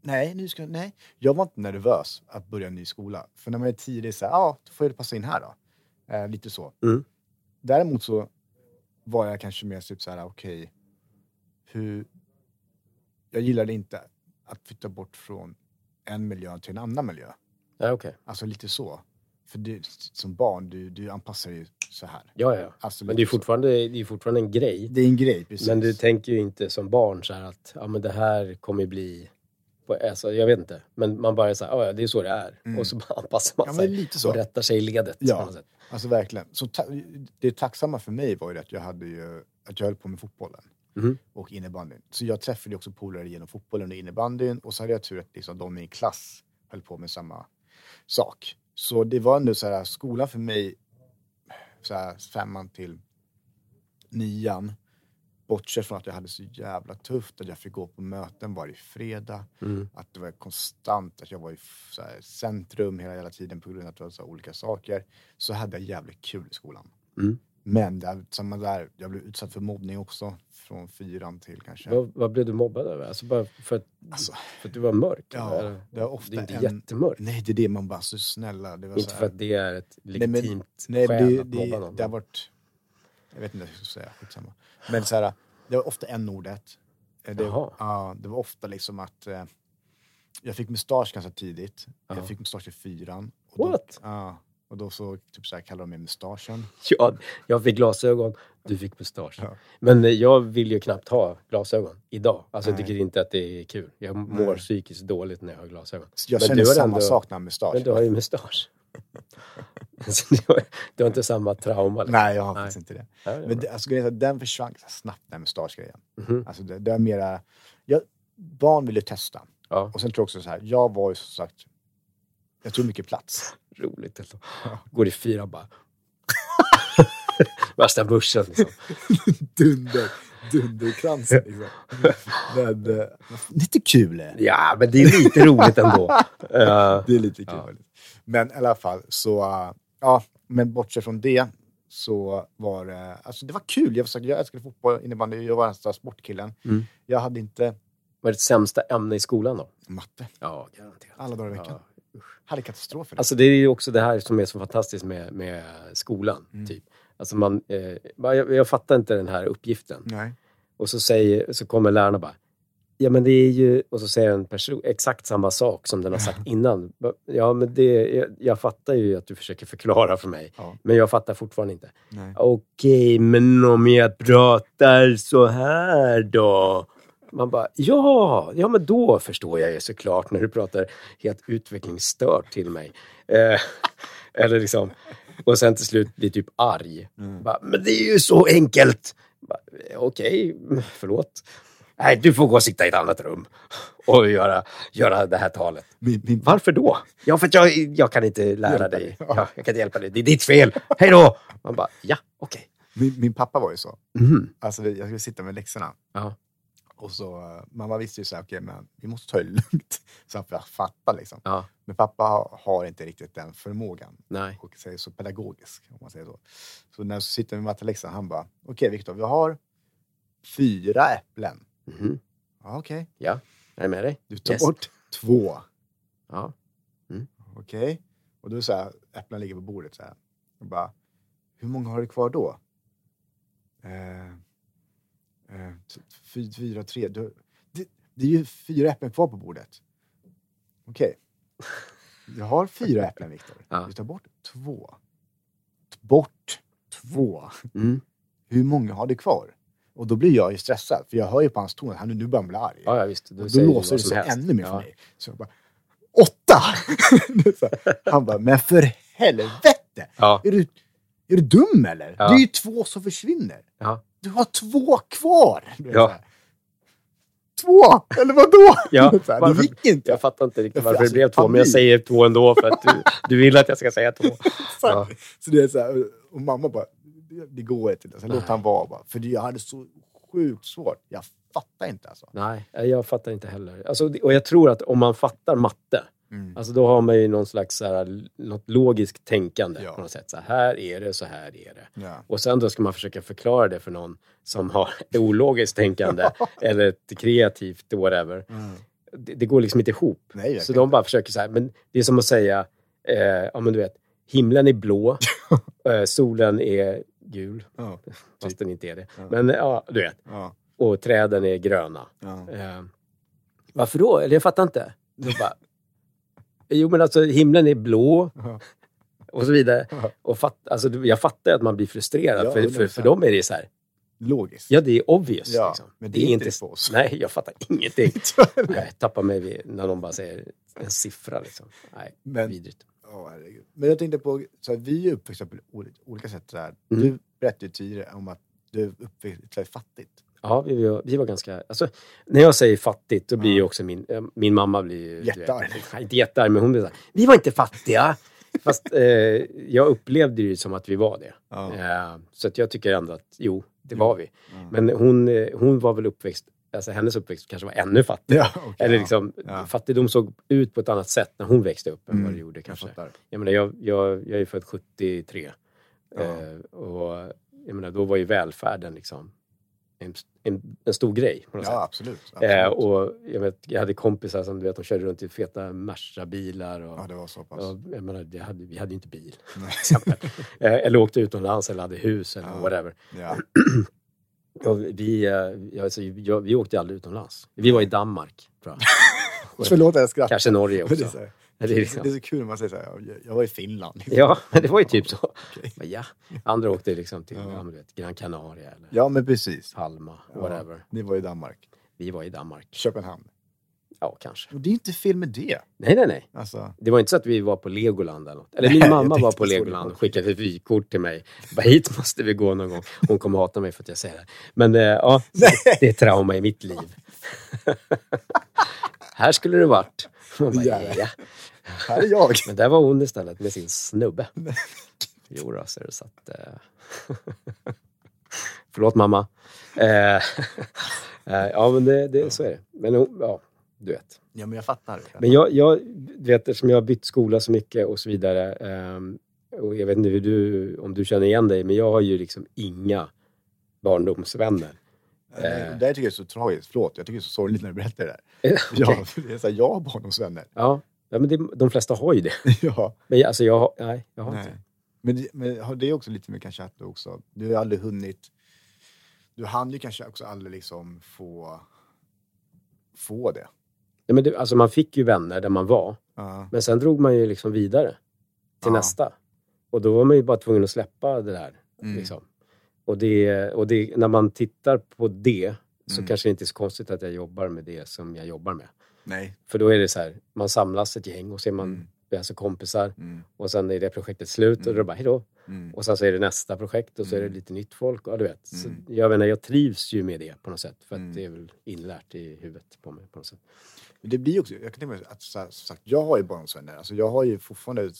[SPEAKER 2] Nej, nu ska, nej, jag var inte nervös att börja en ny skola. För när man är tio, det är så här, ja, då får jag passa in här då. Eh, lite så.
[SPEAKER 1] Mm.
[SPEAKER 2] Däremot så var jag kanske mer typ så här, okej, hur... Jag gillade inte att flytta bort från en miljö till en annan miljö.
[SPEAKER 1] Ja, okej.
[SPEAKER 2] Alltså lite så. För du, som barn, du, du anpassar dig så här.
[SPEAKER 1] Ja, ja, ja.
[SPEAKER 2] Alltså,
[SPEAKER 1] Men
[SPEAKER 2] lite
[SPEAKER 1] det är ju
[SPEAKER 2] så.
[SPEAKER 1] fortfarande, det är ju fortfarande en grej.
[SPEAKER 2] Det är en grej, precis.
[SPEAKER 1] Men du tänker ju inte som barn så här att ja, men det här kommer ju bli... på- Alltså, jag vet inte. Men man bara är så här, "Ja, ja, det är så det är.
[SPEAKER 2] Mm.
[SPEAKER 1] Och så (laughs) bara anpassar man
[SPEAKER 2] ja,
[SPEAKER 1] sig
[SPEAKER 2] men lite så.
[SPEAKER 1] och rättar sig i ledet.
[SPEAKER 2] Ja.
[SPEAKER 1] på något sätt.
[SPEAKER 2] Alltså verkligen. Så ta- det tacksamma för mig var ju det att jag, hade ju, att jag höll på med fotbollen
[SPEAKER 1] Mhm.
[SPEAKER 2] och innebandyn. Så jag träffade ju också polare genom fotbollen och innebandyn och så hade jag tur att liksom de i min klass höll på med samma sak. Så det var ändå så här, skolan för mig, så här, femman till nian, bortsett från att jag hade så jävla tufft att jag fick gå på möten varje fredag
[SPEAKER 1] Mm.
[SPEAKER 2] att det var konstant, att jag var i f- så här, centrum hela, hela tiden på grund av att det var så här, olika saker, så hade jag jävligt kul i skolan.
[SPEAKER 1] Mm.
[SPEAKER 2] Men där, samma där, jag blev utsatt för mobbning också, från fyran till kanske...
[SPEAKER 1] Vad, vad blev du mobbad över? Alltså bara för att,
[SPEAKER 2] Alltså,
[SPEAKER 1] för att du var mörk?
[SPEAKER 2] Ja,
[SPEAKER 1] eller?
[SPEAKER 2] det är ofta
[SPEAKER 1] det är inte
[SPEAKER 2] en-
[SPEAKER 1] jättemörkt.
[SPEAKER 2] nej, det är det man bara, så snälla. Det var
[SPEAKER 1] Inte
[SPEAKER 2] så här,
[SPEAKER 1] för att det är ett
[SPEAKER 2] men-
[SPEAKER 1] legitimt
[SPEAKER 2] nej,
[SPEAKER 1] skäl
[SPEAKER 2] det,
[SPEAKER 1] att mobba
[SPEAKER 2] det,
[SPEAKER 1] någon.
[SPEAKER 2] det har varit... Jag vet inte vad jag ska säga, skitsamma. Men så här, det var ofta en ordet Eh, det,
[SPEAKER 1] Jaha.
[SPEAKER 2] ja, det var ofta liksom att... Eh, jag fick mustasch ganska tidigt.
[SPEAKER 1] Ja.
[SPEAKER 2] Jag fick mustasch i fyran. Och då-
[SPEAKER 1] What?
[SPEAKER 2] Ja, och då så, typ så här, kallar de mig mustaschen.
[SPEAKER 1] Ja, jag fick glasögon, du fick mustasch.
[SPEAKER 2] Ja.
[SPEAKER 1] Men eh, jag vill ju knappt ha glasögon idag. Alltså jag
[SPEAKER 2] Nej.
[SPEAKER 1] tycker inte att det är kul. Jag mår
[SPEAKER 2] Nej.
[SPEAKER 1] psykiskt dåligt när jag har glasögon.
[SPEAKER 2] Så jag
[SPEAKER 1] Men
[SPEAKER 2] känner
[SPEAKER 1] du har
[SPEAKER 2] samma
[SPEAKER 1] ändå-
[SPEAKER 2] sak när jag har mustasch.
[SPEAKER 1] Men du har ju mustasch. (laughs) Så du, har, du har inte samma trauma. liksom.
[SPEAKER 2] Nej, jag har
[SPEAKER 1] Nej.
[SPEAKER 2] faktiskt inte det.
[SPEAKER 1] Ja, det är
[SPEAKER 2] Men
[SPEAKER 1] bra.
[SPEAKER 2] det, alltså, grejen är att den försvann ganska snabbt, den här mustaschgrejen.
[SPEAKER 1] Mhm.
[SPEAKER 2] Alltså, det, det är mera... Jag, barn vill ju testa.
[SPEAKER 1] Ja,
[SPEAKER 2] Och sen tror jag också så här, jag var ju som sagt... Jag tog mycket plats.
[SPEAKER 1] roligt. Alltså. Går i fyra
[SPEAKER 2] (laughs)
[SPEAKER 1] bara. Värsta börsen liksom.
[SPEAKER 2] Dunder, dunderkransen liksom. Men, eh, lite kul. eh.
[SPEAKER 1] Ja, men det är lite roligt
[SPEAKER 2] (laughs)
[SPEAKER 1] ändå. Eh,
[SPEAKER 2] Det är lite kul.
[SPEAKER 1] Ja.
[SPEAKER 2] faktiskt. Men i alla fall, så... eh, Ja, men bortsett från det så var det... Alltså det var kul. Jag, var, så- jag älskade fotboll, innebandy. Jag var den största sportkillen.
[SPEAKER 1] Mm.
[SPEAKER 2] Jag hade inte
[SPEAKER 1] vad är ditt sämsta ämne i skolan då?
[SPEAKER 2] matte
[SPEAKER 1] Ja, garanterat.
[SPEAKER 2] alla dagar i veckan.
[SPEAKER 1] Ja.
[SPEAKER 2] Hade katastrofer.
[SPEAKER 1] Alltså det är ju också det här som är så fantastiskt med, med skolan.
[SPEAKER 2] Mm.
[SPEAKER 1] Typ. Alltså man, eh, bara, jag, jag fattar inte den här uppgiften.
[SPEAKER 2] Nej.
[SPEAKER 1] Och så, säger, så kommer lärarna bara, ja men det är ju, och så säger en person exakt samma sak som den har sagt innan. Bara, Ja men det, jag, jag fattar ju att du försöker förklara för mig,
[SPEAKER 2] Ja.
[SPEAKER 1] men jag fattar fortfarande inte.
[SPEAKER 2] Nej.
[SPEAKER 1] Okej, men om jag pratar så här då? Man bara, ja, ja men då förstår jag ju såklart när du pratar helt utvecklingsstört till mig. Eh, eller liksom, och sen till slut blir typ arg.
[SPEAKER 2] Mm.
[SPEAKER 1] Bara, men det är ju så enkelt! Bara, Okej, förlåt. Nej, du får gå och sitta i ett annat rum och göra, göra det här talet.
[SPEAKER 2] Min, min,
[SPEAKER 1] Varför då? Ja, för att jag, jag kan inte lära dig. Ja, jag kan inte hjälpa dig. Det är ditt fel. Hej då! Man bara, ja, okej.
[SPEAKER 2] min, min pappa var ju så.
[SPEAKER 1] Mhm.
[SPEAKER 2] Alltså, vi- jag skulle sitta med läxorna.
[SPEAKER 1] Ja.
[SPEAKER 2] Och så, eh, mamma visste ju så här, okej, men vi måste ta det lugnt. (laughs) Så att jag fattar liksom.
[SPEAKER 1] Ja,
[SPEAKER 2] Men pappa har, har inte riktigt den förmågan.
[SPEAKER 1] nej.
[SPEAKER 2] Och säger så pedagogisk, om man säger så. Så när jag sitter med matteläxan, han bara, okej Viktor, vi har fyra äpplen.
[SPEAKER 1] Mhm.
[SPEAKER 2] Ja, okej.
[SPEAKER 1] Är jag med dig?
[SPEAKER 2] Du tar
[SPEAKER 1] Yes.
[SPEAKER 2] bort två.
[SPEAKER 1] Ja.
[SPEAKER 2] Okej. Och då är det så här, äpplen ligger på bordet så här. Och bara, hur många har du kvar då? Eh, eh, t- fy- fyra, tre. Du, det, det är ju fyra äpplen kvar på bordet. Okej. Jag har fyra äpplen, Viktor.
[SPEAKER 1] Ja.
[SPEAKER 2] Du tar bort två. Ta Bort två.
[SPEAKER 1] Mm.
[SPEAKER 2] Hur många har du kvar? Och då blir jag ju stressad, för jag hör ju på hans ton att han nu börjar han bli arg.
[SPEAKER 1] Ja, ja, visst. Du
[SPEAKER 2] Och då
[SPEAKER 1] säger ju
[SPEAKER 2] låser
[SPEAKER 1] vad
[SPEAKER 2] det
[SPEAKER 1] som
[SPEAKER 2] sig
[SPEAKER 1] helst.
[SPEAKER 2] ännu mer för
[SPEAKER 1] ja.
[SPEAKER 2] mig. Så jag bara, åtta! (laughs) Det är så här. Han bara, men för helvete!
[SPEAKER 1] Ja,
[SPEAKER 2] Är du, är du dum eller?
[SPEAKER 1] Ja.
[SPEAKER 2] Det är ju två som försvinner.
[SPEAKER 1] Ja.
[SPEAKER 2] Du har två kvar! Du vet
[SPEAKER 1] Ja.
[SPEAKER 2] så här. Två? Eller vadå?
[SPEAKER 1] Ja,
[SPEAKER 2] (laughs) Det är så här,
[SPEAKER 1] varför-
[SPEAKER 2] det gick inte.
[SPEAKER 1] jag fattar inte
[SPEAKER 2] Ja,
[SPEAKER 1] riktigt
[SPEAKER 2] för
[SPEAKER 1] varför det
[SPEAKER 2] alltså,
[SPEAKER 1] blev två, men jag
[SPEAKER 2] panik.
[SPEAKER 1] säger två ändå för att du, du vill att jag ska säga två.
[SPEAKER 2] Så,
[SPEAKER 1] Ja.
[SPEAKER 2] så det är så här, och mamma bara, det, det går inte. Sen låter
[SPEAKER 1] Nej.
[SPEAKER 2] han vara bara. För jag hade så sjukt svårt. Jag fattar inte alltså.
[SPEAKER 1] Nej, Eh, jag fattar inte heller. Alltså, och jag tror att om man fattar matte,
[SPEAKER 2] Mm.
[SPEAKER 1] alltså då har man ju någon slags så här, något logiskt tänkande
[SPEAKER 2] Ja.
[SPEAKER 1] på något sätt. Så här är det, så här är det.
[SPEAKER 2] Ja.
[SPEAKER 1] Och sen då ska man försöka förklara det för någon som har (laughs) ett ologiskt
[SPEAKER 2] (laughs)
[SPEAKER 1] tänkande eller ett kreativt whatever. Det, det går liksom inte ihop.
[SPEAKER 2] Mm. Nej, verkligen
[SPEAKER 1] Så de bara försöker så här, men det är som att säga, eh, ja men du vet, himlen är
[SPEAKER 2] (laughs)
[SPEAKER 1] blå, eh, solen är gul,
[SPEAKER 2] Ja.
[SPEAKER 1] fast
[SPEAKER 2] Typ.
[SPEAKER 1] den inte är det.
[SPEAKER 2] Ja.
[SPEAKER 1] Men ja, du vet,
[SPEAKER 2] Ja.
[SPEAKER 1] och träden är gröna.
[SPEAKER 2] Ja.
[SPEAKER 1] Eh, varför då? Eller jag fattar inte. Då bara, jo men alltså himlen är blå
[SPEAKER 2] Ja.
[SPEAKER 1] och så vidare.
[SPEAKER 2] Ja.
[SPEAKER 1] Och fatt, alltså, du- jag fattar att man blir frustrerad,
[SPEAKER 2] Ja,
[SPEAKER 1] för, för, för
[SPEAKER 2] 100%.
[SPEAKER 1] dem är det så här,
[SPEAKER 2] Logiskt.
[SPEAKER 1] ja det är obvious.
[SPEAKER 2] Ja,
[SPEAKER 1] liksom.
[SPEAKER 2] men det är inte det för oss.
[SPEAKER 1] Nej, jag fattar
[SPEAKER 2] (laughs)
[SPEAKER 1] ingenting. Nej, jag tappar mig vid, när de bara säger en siffra liksom. Nej,
[SPEAKER 2] Men-
[SPEAKER 1] vidrigt.
[SPEAKER 2] Ja, herregud. Men jag tänkte på, så här, vi är ju uppväxta på ol- olika sätt. Så här.
[SPEAKER 1] Mm.
[SPEAKER 2] Du berättade ju tidigare om att du är uppväxt så här fattigt.
[SPEAKER 1] Ja, vi var, vi var ganska... Alltså, när jag säger fattigt, då blir
[SPEAKER 2] Ja.
[SPEAKER 1] ju också min... eh, Min mamma blir ju... du vet,
[SPEAKER 2] Jättearg.
[SPEAKER 1] (laughs) nej, Inte jättearg, men hon blir så här, Vi var inte
[SPEAKER 2] (laughs)
[SPEAKER 1] fattiga! Fast eh, jag upplevde det ju som att vi var det. Eh, så att jag tycker ändå att, jo, det var vi.
[SPEAKER 2] Mm.
[SPEAKER 1] Men hon, eh, hon var väl uppväxt... Alltså hennes uppväxt kanske var ännu fattigare.
[SPEAKER 2] Ja, okej,
[SPEAKER 1] Eller
[SPEAKER 2] ja.
[SPEAKER 1] liksom,
[SPEAKER 2] Ja.
[SPEAKER 1] fattigdom såg ut på ett annat sätt när hon växte upp än
[SPEAKER 2] Mm.
[SPEAKER 1] vad det gjorde kanske.
[SPEAKER 2] Jag fattar.
[SPEAKER 1] Jag menar, jag, jag, jag är född 73.
[SPEAKER 2] Ja.
[SPEAKER 1] Eh, och jag menar, då var ju välfärden liksom en, en, en stor grej på något
[SPEAKER 2] Ja,
[SPEAKER 1] sätt.
[SPEAKER 2] absolut. absolut.
[SPEAKER 1] Eh, och jag, vet, jag hade kompisar som du vet, de körde runt i feta Merca-bilar. Och,
[SPEAKER 2] ja, det var så pass.
[SPEAKER 1] och, jag menar, det hade, vi hade ju inte
[SPEAKER 2] (laughs)
[SPEAKER 1] bil.
[SPEAKER 2] Nej.
[SPEAKER 1] exempel. eh, eller åkte utomlands eller hade hus eller
[SPEAKER 2] Ja.
[SPEAKER 1] whatever. (laughs)
[SPEAKER 2] Ja.
[SPEAKER 1] Och vi, eh, alltså, jag, vi åkte aldrig utomlands. Vi var i Danmark,
[SPEAKER 2] (laughs)
[SPEAKER 1] tror jag.
[SPEAKER 2] Förlåt att jag skrattar.
[SPEAKER 1] Kanske Norge
[SPEAKER 2] Men det, är
[SPEAKER 1] också.
[SPEAKER 2] så här,
[SPEAKER 1] Det är
[SPEAKER 2] det, är
[SPEAKER 1] liksom-
[SPEAKER 2] så kul när man säger så här, jag, jag var i Finland.
[SPEAKER 1] (laughs)
[SPEAKER 2] Liksom. (laughs)
[SPEAKER 1] Ja, men det var ju typ så.
[SPEAKER 2] Okej.
[SPEAKER 1] Men ja. Andra åkte liksom till
[SPEAKER 2] Ja.
[SPEAKER 1] ja. men du vet, Gran Canaria eller
[SPEAKER 2] Ja, men precis.
[SPEAKER 1] Palma,
[SPEAKER 2] Ja.
[SPEAKER 1] whatever.
[SPEAKER 2] Ni var i Danmark.
[SPEAKER 1] Vi var i Danmark.
[SPEAKER 2] Köpenhamn.
[SPEAKER 1] Ja, kanske.
[SPEAKER 2] Och det är inte fel med det.
[SPEAKER 1] Nej, nej, nej.
[SPEAKER 2] Alltså,
[SPEAKER 1] Det var inte så att vi var på Legoland eller något. Eller
[SPEAKER 2] Nej,
[SPEAKER 1] min
[SPEAKER 2] jag
[SPEAKER 1] mamma var
[SPEAKER 2] tänkte
[SPEAKER 1] på
[SPEAKER 2] så.
[SPEAKER 1] Legoland och skickade ett vykort till mig. Bara, hit måste vi gå någon gång. Hon kommer hata mig för att jag säger det. Men eh, ja, det är ett trauma i mitt
[SPEAKER 2] (laughs)
[SPEAKER 1] liv. Här skulle det varit. Man bara,
[SPEAKER 2] Jävlar.
[SPEAKER 1] ja.
[SPEAKER 2] här är jag. (laughs)
[SPEAKER 1] Men där var hon istället med sin snubbe. Jo, då, så, det, så att... Eh... (laughs) Förlåt mamma. Eh... (laughs) eh, ja, men det, det, så är det. Men hon- ja, du vet.
[SPEAKER 2] Ja, men jag fattar.
[SPEAKER 1] Men jag, jag du vet, eftersom jag har bytt skola så mycket och så vidare. ehm, och jag vet inte hur du, om du känner igen dig, men jag har ju liksom inga barndomsvänner.
[SPEAKER 2] Eh, Det här tycker jag är så tragiskt. Förlåt, jag tycker det är så sorgligt när du berättar det
[SPEAKER 1] (laughs)
[SPEAKER 2] där. Ja,
[SPEAKER 1] Okej.
[SPEAKER 2] för (laughs) det är så här, jag har barndomsvänner.
[SPEAKER 1] Ja, ja men det, de flesta har ju det.
[SPEAKER 2] (laughs) ja,
[SPEAKER 1] Men jag- alltså, jag har, nej, jag har
[SPEAKER 2] nej.
[SPEAKER 1] inte.
[SPEAKER 2] Men, det- men har det är också lite med kanske att du också, du har aldrig hunnit, du hann ju kanske också aldrig liksom få, få det.
[SPEAKER 1] Ja, men det, alltså, man fick ju vänner där man var,
[SPEAKER 2] Ja,
[SPEAKER 1] men sen drog man ju liksom vidare till
[SPEAKER 2] Ja.
[SPEAKER 1] nästa. Och då var man ju bara tvungen att släppa det där.
[SPEAKER 2] Mm.
[SPEAKER 1] Liksom. Och, det, och det, när man tittar på det så
[SPEAKER 2] Mm.
[SPEAKER 1] kanske det inte är så konstigt att jag jobbar med det som jag jobbar med.
[SPEAKER 2] Nej.
[SPEAKER 1] För då är det så här, man samlas ett gäng och så är man
[SPEAKER 2] Mm.
[SPEAKER 1] vi är alltså kompisar
[SPEAKER 2] Mm.
[SPEAKER 1] och sen är det projektet slut och
[SPEAKER 2] Mm.
[SPEAKER 1] då bara hejdå.
[SPEAKER 2] Mm.
[SPEAKER 1] Och sen så är det nästa projekt och så är det
[SPEAKER 2] Mm.
[SPEAKER 1] lite nytt folk. Ja, du vet. Så
[SPEAKER 2] Mm.
[SPEAKER 1] jag menar, jag trivs ju med det på något sätt. För att
[SPEAKER 2] Mm.
[SPEAKER 1] det är väl inlärt i huvudet på mig på något sätt.
[SPEAKER 2] Men Det blir också, jag kan tänka mig att så här, som sagt, jag har ju barndomsvänner. Alltså jag har ju fortfarande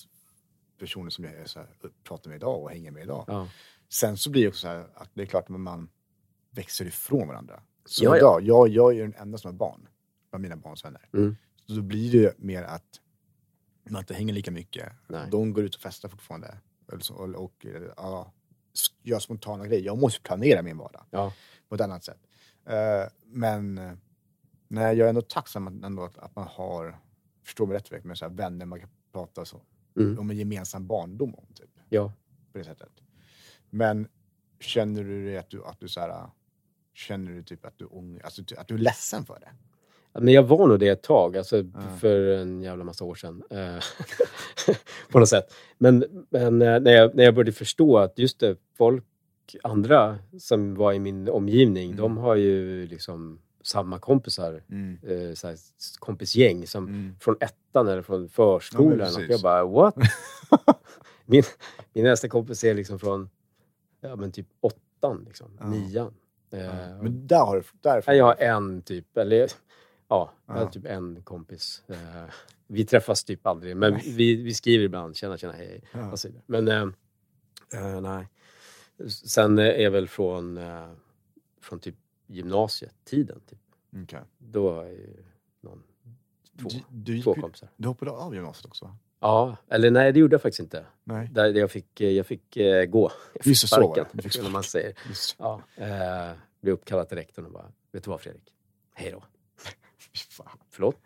[SPEAKER 2] personer som jag så här, pratar med idag och hänger med idag.
[SPEAKER 1] Ja.
[SPEAKER 2] Sen så blir det också så här att det är klart att man växer ifrån varandra. Så
[SPEAKER 1] Ja, ja.
[SPEAKER 2] idag, jag, jag är ju den enda som har barn, av mina barns vänner.
[SPEAKER 1] Mm.
[SPEAKER 2] Så då blir det ju mer att man inte hänger lika mycket.
[SPEAKER 1] Nej.
[SPEAKER 2] De går ut och festar fortfarande. Eller så- Och, och eh, ja, s- gör spontana grejer. Jag måste planera min vardag
[SPEAKER 1] Ja.
[SPEAKER 2] på ett annat sätt. Eh, men eh, nej, jag är ändå tacksam att- ändå att, att man har, förstår mig rätt, Fredrik, men så här, vänner man kan prata så,
[SPEAKER 1] Mm.
[SPEAKER 2] om en gemensam barndom om. Typ,
[SPEAKER 1] Ja.
[SPEAKER 2] på det sättet. Men känner du dig att du, att du så här, känner du typ att du ångrar, alltså, ty- att du är ledsen för det?
[SPEAKER 1] Men jag var nog det ett tag, alltså
[SPEAKER 2] Ja.
[SPEAKER 1] för en jävla massa år sedan. eh, (laughs) på något sätt. Men, men eh, när, jag, när jag började förstå att just det, folk, andra som var i min omgivning,
[SPEAKER 2] Mm.
[SPEAKER 1] de har ju liksom samma kompisar,
[SPEAKER 2] Mm.
[SPEAKER 1] eh, så här, kompisgäng som
[SPEAKER 2] Mm.
[SPEAKER 1] från ettan eller från
[SPEAKER 2] Ja, men
[SPEAKER 1] förskolan.
[SPEAKER 2] precis.
[SPEAKER 1] och jag bara, what? (laughs) min, min nästa kompis är liksom från ja, men typ åttan, liksom,
[SPEAKER 2] Ja.
[SPEAKER 1] nian. Eh,
[SPEAKER 2] Men där har du, därifrån.
[SPEAKER 1] Nej, Jag har en typ, eller ja, jag har
[SPEAKER 2] Ja.
[SPEAKER 1] typ en kompis. Eh, Vi träffas typ aldrig, men vi, vi skriver ibland. Tjena, tjena, hej.
[SPEAKER 2] Ja.
[SPEAKER 1] Och så vidare. Men eh, eh, nej. Sen eh, är väl från, eh, från typ gymnasietiden. Typ.
[SPEAKER 2] Okej.
[SPEAKER 1] Då är ju någon, två,
[SPEAKER 2] Du, du, gick
[SPEAKER 1] två
[SPEAKER 2] ju-
[SPEAKER 1] kompisar.
[SPEAKER 2] du hoppade av gymnasiet också? va?
[SPEAKER 1] Ja, eller nej, det gjorde jag faktiskt inte.
[SPEAKER 2] Nej.
[SPEAKER 1] Där jag fick, eh, jag fick eh, gå. Jag fick
[SPEAKER 2] Just det, så var
[SPEAKER 1] sparken,
[SPEAKER 2] det. Du fick
[SPEAKER 1] eller vad man säger.
[SPEAKER 2] Just-
[SPEAKER 1] Ja, eh, blev uppkallad till rektorn och bara, vet du vad Fredrik? Hej då.
[SPEAKER 2] (laughs) fy fan.
[SPEAKER 1] Förlåt?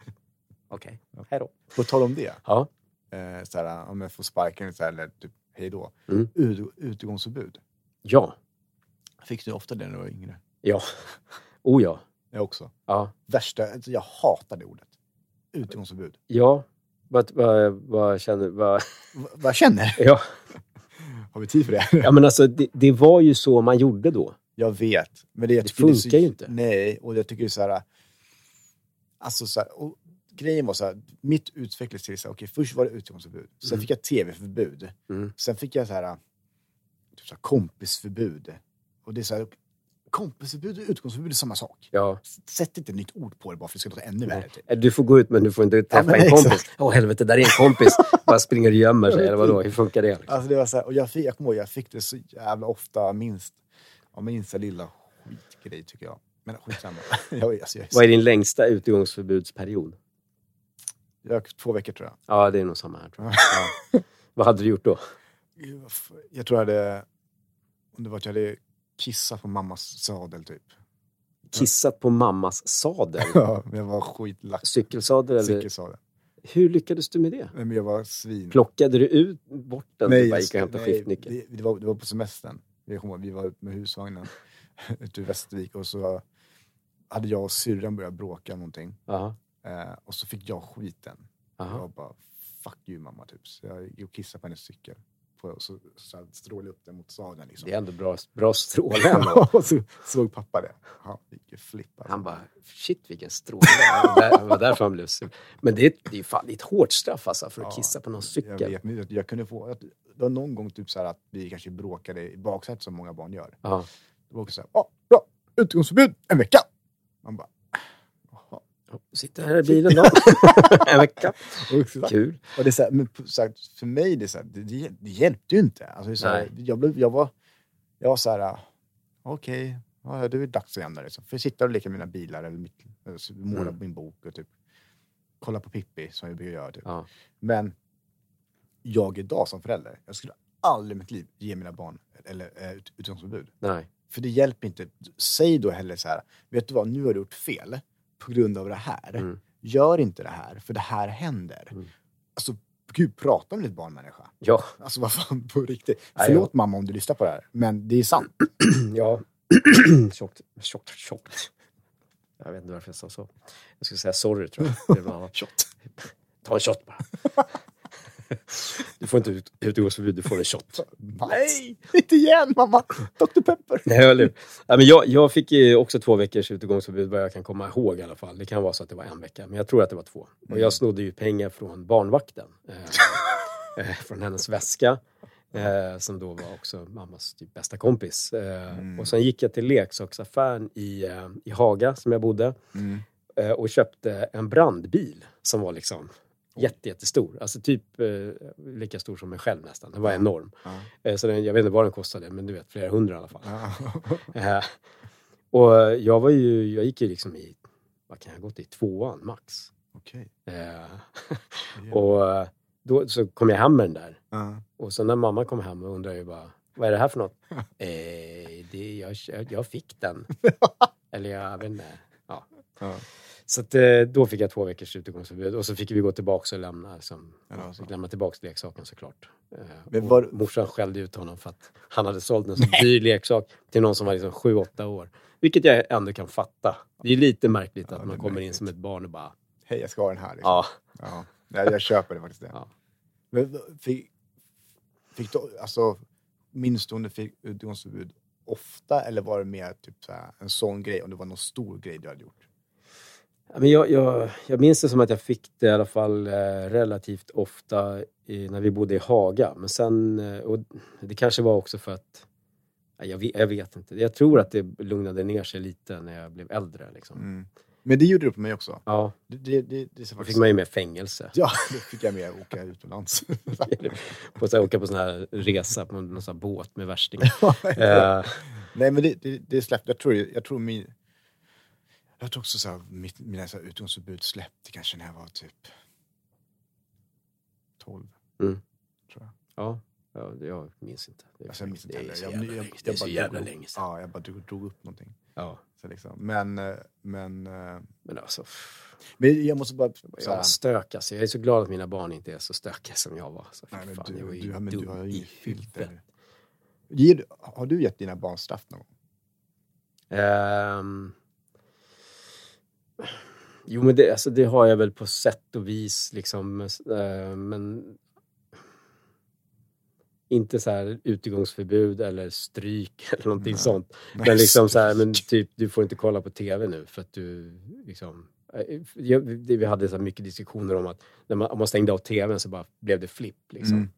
[SPEAKER 1] Okej, hej då.
[SPEAKER 2] På tal om det.
[SPEAKER 1] Ja.
[SPEAKER 2] eh, såhär, om jag får sparken såhär, eller typ hej då.
[SPEAKER 1] Mm.
[SPEAKER 2] Ut, utegångsförbud.
[SPEAKER 1] Ja.
[SPEAKER 2] Fick du ofta det när du var yngre?
[SPEAKER 1] Ja. Oh ja.
[SPEAKER 2] Jag också.
[SPEAKER 1] Ja.
[SPEAKER 2] Värsta, alltså, jag hatar det ordet. Utegångsförbud.
[SPEAKER 1] Ja. Vad, vad, vad känner... Vad,
[SPEAKER 2] V- vad jag känner?
[SPEAKER 1] ja.
[SPEAKER 2] (laughs) Har vi tid för det?
[SPEAKER 1] ja, men alltså det, det var ju så man gjorde då.
[SPEAKER 2] Jag vet. Men det, jag
[SPEAKER 1] Det
[SPEAKER 2] tycker är så-
[SPEAKER 1] funkar ju inte.
[SPEAKER 2] Nej, och jag tycker ju såhär... Alltså såhär, och grejen var såhär, mitt utvecklades till såhär, okej först var det utegångsförbud. Sen
[SPEAKER 1] Mm.
[SPEAKER 2] fick jag tv-förbud.
[SPEAKER 1] Mm.
[SPEAKER 2] Sen fick jag såhär, typ såhär kompisförbud. Och det är såhär, kompisförbud och utegångsförbud är samma sak.
[SPEAKER 1] Ja.
[SPEAKER 2] sätt inte ett nytt ord på det bara för att det ska låta ännu värre. Typ.
[SPEAKER 1] Du får gå ut men du får inte
[SPEAKER 2] Ja,
[SPEAKER 1] träffa
[SPEAKER 2] men
[SPEAKER 1] en kompis.
[SPEAKER 2] exakt.
[SPEAKER 1] Åh helvete, där är en kompis. Bara springer och gömmer sig. Eller vadå, hur funkar det? Liksom?
[SPEAKER 2] Alltså det var så här, och jag, fick, jag kommer ihåg, jag fick det så jävla ofta, minst, ja, minsta lilla skitgrej tycker jag. Men skitsamma. (laughs) jag, alltså, jag,
[SPEAKER 1] Vad är din längsta utegångsförbudsperiod?
[SPEAKER 2] jag, två veckor tror jag.
[SPEAKER 1] Ja, det är nog samma här tror jag. Ja. Vad hade du gjort då?
[SPEAKER 2] Gud, vad f- Jag tror jag hade, om det var att jag hade kissat på mammas
[SPEAKER 1] (laughs)
[SPEAKER 2] sadel typ.
[SPEAKER 1] Kissat på mammas sadel?
[SPEAKER 2] Ja, men jag var skitlack.
[SPEAKER 1] Cykelsadel? Eller?
[SPEAKER 2] Cykelsadel.
[SPEAKER 1] Hur lyckades du med det?
[SPEAKER 2] Nej, Men jag var svin.
[SPEAKER 1] Plockade du ut bort den? Nej, du bara
[SPEAKER 2] jag-
[SPEAKER 1] gick och hämtade
[SPEAKER 2] nej,
[SPEAKER 1] skiftnyckeln?
[SPEAKER 2] Det, det, var, det var på semestern. Jag kommer ihåg, vi var ute med husvagnen (laughs) ute i Västervik och så hade jag och syrran börjat bråka om någonting.
[SPEAKER 1] Jaha.
[SPEAKER 2] Eh, och så fick jag skiten.
[SPEAKER 1] Jaha.
[SPEAKER 2] Jag bara, fuck you mamma, typ. Så jag gick och kissade på hennes cykel. På, och så, så här strålade upp den mot sadeln. Liksom.
[SPEAKER 1] Det är ändå bra, bra
[SPEAKER 2] (laughs)
[SPEAKER 1] stråle ändå.
[SPEAKER 2] Ja, och så såg pappa det. Han gick ju flipp. Alltså.
[SPEAKER 1] Han bara, shit vilken stråle. Det var där- det var därför han blev sur. Men det är, det är ju fan det är ett hårt straff alltså, för att
[SPEAKER 2] Ja,
[SPEAKER 1] kissa på någon
[SPEAKER 2] Jag,
[SPEAKER 1] cykel.
[SPEAKER 2] vet, men jag, jag kunde få... Att, det var någon gång typ så här att vi kanske bråkade i baksätet som många barn gör.
[SPEAKER 1] Ja.
[SPEAKER 2] Det var också så här, ja, bra, utegångsförbud en vecka. Man bara, "Ah, jaha.
[SPEAKER 1] Sitter här i bilen då. (laughs) en vecka.
[SPEAKER 2] Och så-
[SPEAKER 1] Kul.
[SPEAKER 2] Och det är så här, men på- så här, för mig, det, är så här, det, det, det hjälpte ju inte. Alltså, det är så här, jag, blev, jag var, jag var så här, ah, okej, okay, ja, det är dags att lämna. Liksom. För jag sitter och leker med mina bilar eller mitt, eller så målar
[SPEAKER 1] Mm.
[SPEAKER 2] på min bok och typ, kollar på Pippi som jag brukar göra. Typ.
[SPEAKER 1] Ja.
[SPEAKER 2] Men jag idag som förälder, jag skulle aldrig i mitt liv ge mina barn eller, eh, ut- utegångsförbud.
[SPEAKER 1] Nej.
[SPEAKER 2] För det hjälper inte. Säg då heller så här, vet du vad, nu har du gjort fel på grund av det här.
[SPEAKER 1] Mm.
[SPEAKER 2] Gör inte det här, för det här händer.
[SPEAKER 1] Mm.
[SPEAKER 2] Alltså, gud, prata med ditt barn, människa.
[SPEAKER 1] Ja. (clears throat)
[SPEAKER 2] Alltså, vad fan, på riktigt.
[SPEAKER 1] Nej,
[SPEAKER 2] Förlåt mamma om du lyssnar på det här, men det är sant.
[SPEAKER 1] ja. (clears throat) tjockt. Tjockt. Tjockt. Jag vet inte varför jag sa
[SPEAKER 2] (laughs)
[SPEAKER 1] så. Jag skulle säga sorry tror jag. Det är bland annat.
[SPEAKER 2] Shot.
[SPEAKER 1] Ta en shot bara. Du får inte ut, utegångsförbud, du får en shot.
[SPEAKER 2] Nej! Inte igen mamma! Dr
[SPEAKER 1] (laughs)
[SPEAKER 2] Pepper!
[SPEAKER 1] Nej, eller hur? Nej, men jag, jag fick ju också två veckors utegångsförbud vad jag kan komma ihåg i alla fall. Det kan vara så att det var en vecka, men jag tror att det var två. Och
[SPEAKER 2] Mm.
[SPEAKER 1] jag snodde ju pengar från barnvakten. Eh, (laughs) eh, från hennes väska. Eh, som då var också mammas typ bästa kompis. Eh,
[SPEAKER 2] Mm.
[SPEAKER 1] Och sen gick jag till leksaksaffären i, eh, i Haga, som jag bodde.
[SPEAKER 2] Mm.
[SPEAKER 1] eh, och köpte en brandbil som var liksom jätte, jättestor. Alltså typ eh, lika stor som mig själv nästan. Den var enorm.
[SPEAKER 2] Ja.
[SPEAKER 1] Eh, så den, jag vet inte vad den kostade, men du vet flera hundra i alla fall.
[SPEAKER 2] Ja.
[SPEAKER 1] Eh, och jag var ju, jag gick ju liksom i, vad kan jag ha gått i, tvåan max.
[SPEAKER 2] (laughs) Okej.
[SPEAKER 1] Eh,
[SPEAKER 2] Ja.
[SPEAKER 1] och eh, då så kom jag hem med den där.
[SPEAKER 2] Ja.
[SPEAKER 1] Och sen när mamma kom hem och undrade jag bara, vad är det här för något? (laughs) eh, det, jag, jag- jag fick
[SPEAKER 2] (laughs)
[SPEAKER 1] den. Eller jag vet inte.
[SPEAKER 2] Ja.
[SPEAKER 1] Så att, eh, då fick jag två veckors utegångsförbud och så fick vi gå tillbaka och lämna, liksom,
[SPEAKER 2] Ja, det var så.
[SPEAKER 1] fick lämna tillbaka leksaken såklart. Eh,
[SPEAKER 2] Men
[SPEAKER 1] och
[SPEAKER 2] var-
[SPEAKER 1] Morsan skällde ut honom för att han hade sålt en så dyr leksak till någon som var liksom 7-8 år. Vilket jag ändå kan fatta. Det är lite märkligt
[SPEAKER 2] Ja,
[SPEAKER 1] att
[SPEAKER 2] det
[SPEAKER 1] man
[SPEAKER 2] är
[SPEAKER 1] kommer in
[SPEAKER 2] märkligt.
[SPEAKER 1] som ett barn och bara...
[SPEAKER 2] Hej, jag ska ha den här. Liksom.
[SPEAKER 1] Ja.
[SPEAKER 2] Ja. Nej, jag köper det faktiskt. Det.
[SPEAKER 1] Ja.
[SPEAKER 2] Men v- fick, fick du, alltså, minns du om du fick utegångsförbud ofta eller var det mer typ så här, en sån grej, om det var någon stor grej du hade gjort?
[SPEAKER 1] Ja, Men jag, jag, jag minns det som att jag fick det i alla fall eh, relativt ofta i, när vi bodde i Haga. Men sen, eh, och det kanske var också för att... ja, Jag vet, jag vet inte. Jag tror att det lugnade ner sig lite när jag blev äldre. Liksom.
[SPEAKER 2] Mm. Men det gjorde du på mig också.
[SPEAKER 1] Ja,
[SPEAKER 2] Det, det, det, det är så
[SPEAKER 1] då
[SPEAKER 2] faktiskt,
[SPEAKER 1] fick man ju med fängelse.
[SPEAKER 2] (laughs) Ja, det fick jag med att
[SPEAKER 1] (laughs)
[SPEAKER 2] åka utomlands.
[SPEAKER 1] På så här, åka på sån här resa på någon sån här båt med
[SPEAKER 2] (laughs)
[SPEAKER 1] värstingar. Eh,
[SPEAKER 2] Nej, men det, det, det släppte, jag tror, jag tror min... Jag tror också så här, mitt, mina så här utomhusförbud släppte kanske när jag var typ 12.
[SPEAKER 1] Mm.
[SPEAKER 2] Tror jag.
[SPEAKER 1] ja, ja, jag minns inte. Det är,
[SPEAKER 2] Alltså, jag minns inte
[SPEAKER 1] det är
[SPEAKER 2] heller.
[SPEAKER 1] så
[SPEAKER 2] Jag-
[SPEAKER 1] jävla
[SPEAKER 2] jag-
[SPEAKER 1] länge-
[SPEAKER 2] jag
[SPEAKER 1] det är så
[SPEAKER 2] bara
[SPEAKER 1] jävla
[SPEAKER 2] drog-
[SPEAKER 1] länge sedan.
[SPEAKER 2] Ja, jag bara drog, drog upp någonting.
[SPEAKER 1] Ja,
[SPEAKER 2] Så liksom. Men, eh, men, eh,
[SPEAKER 1] men alltså, pff,
[SPEAKER 2] men jag måste bara... Så
[SPEAKER 1] jag var
[SPEAKER 2] här,
[SPEAKER 1] stök alltså. Jag är så glad att mina barn inte är så stökiga som jag var. Så, fy
[SPEAKER 2] nej, men
[SPEAKER 1] fan, jag var
[SPEAKER 2] du,
[SPEAKER 1] ju
[SPEAKER 2] du, ja, men du
[SPEAKER 1] dum
[SPEAKER 2] har ju
[SPEAKER 1] i
[SPEAKER 2] inget
[SPEAKER 1] huvudet.
[SPEAKER 2] filter. Ger, du- har du gett dina barn straff någon gång?
[SPEAKER 1] Ehm, jo, men det, alltså, det har jag väl på sätt och vis, liksom, eh, men inte så här utegångsförbud eller stryk (laughs) eller någonting
[SPEAKER 2] Nej.
[SPEAKER 1] sånt.
[SPEAKER 2] Nej, Mm.
[SPEAKER 1] Men liksom så här, men typ, du får inte kolla på tv nu för att du liksom... eh, jag- det- Vi hade så här mycket diskussioner om att när man, om man stängde av tvn så bara blev det flipp. Liksom.
[SPEAKER 2] Mm.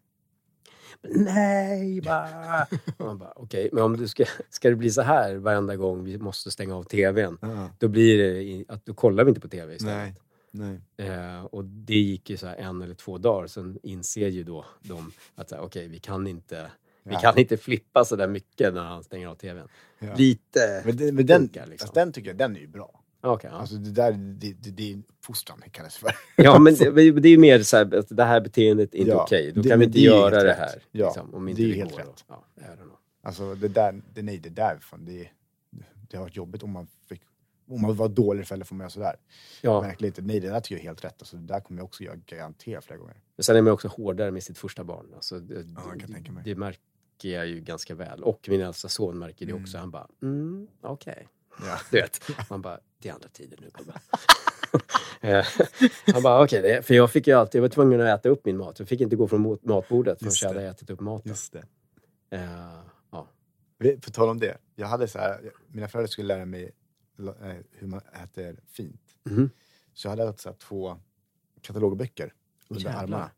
[SPEAKER 1] Nej, bara. Och (laughs) man bara, okej, men om du ska, ska det bli så här varenda gång vi måste stänga av tvn,
[SPEAKER 2] Ja,
[SPEAKER 1] då blir det i- att då kollar vi inte på tv istället.
[SPEAKER 2] nej, nej.
[SPEAKER 1] Eh, och det gick ju så här en eller två dagar, sen inser ju då de att så här, okej, vi kan inte, vi
[SPEAKER 2] Ja.
[SPEAKER 1] kan inte flippa så där mycket när han stänger av tvn.
[SPEAKER 2] Ja.
[SPEAKER 1] Lite...
[SPEAKER 2] Men, den- men den,
[SPEAKER 1] Funkar, liksom.
[SPEAKER 2] alltså, den tycker jag, den är ju bra.
[SPEAKER 1] Ja, Okej, ja.
[SPEAKER 2] Alltså det där, det, det, det är fostran det kallas för. (laughs)
[SPEAKER 1] ja, men det, det är ju mer så här att det här beteendet är inte
[SPEAKER 2] Ja,
[SPEAKER 1] okej. Då
[SPEAKER 2] det-
[SPEAKER 1] kan vi
[SPEAKER 2] men
[SPEAKER 1] inte
[SPEAKER 2] det är ju
[SPEAKER 1] göra
[SPEAKER 2] helt
[SPEAKER 1] det
[SPEAKER 2] rätt.
[SPEAKER 1] här.
[SPEAKER 2] Ja,
[SPEAKER 1] liksom, om inte
[SPEAKER 2] det är
[SPEAKER 1] det
[SPEAKER 2] ju
[SPEAKER 1] går.
[SPEAKER 2] helt rätt.
[SPEAKER 1] Ja, I don't know.
[SPEAKER 2] Alltså det där, det, nej det där, fan, det, det har varit jobbigt om man fick, om man var dålig förälder får man göra sådär.
[SPEAKER 1] ja.
[SPEAKER 2] Verkligen inte. Nej det där tycker jag är helt rätt. Alltså det där kommer jag också göra garanterat flera gånger.
[SPEAKER 1] Men sen är man också hårdare med sitt första barn. Alltså, det,
[SPEAKER 2] Ja, jag kan tänka mig.
[SPEAKER 1] det märker jag ju ganska väl. Och min äldsta son märker det också. Han bara, mm, okej.
[SPEAKER 2] Ja.
[SPEAKER 1] Du vet, man bara, det är andra tider nu gubben. (laughs) Eh, Han bara, okej, det- för jag fick ju alltid, jag var tvungen att äta upp min mat. Jag fick inte gå från mot- matbordet förrän
[SPEAKER 2] Just
[SPEAKER 1] jag
[SPEAKER 2] det.
[SPEAKER 1] hade ätit upp maten.
[SPEAKER 2] Just det.
[SPEAKER 1] Eh, ja.
[SPEAKER 2] Vi- På tal om det. Jag hade så här, mina föräldrar skulle lära mig la- eh, hur man äter fint.
[SPEAKER 1] Mhm.
[SPEAKER 2] Så jag hade alltså så här, två katalogböcker under
[SPEAKER 1] Jävlar.
[SPEAKER 2] armarna.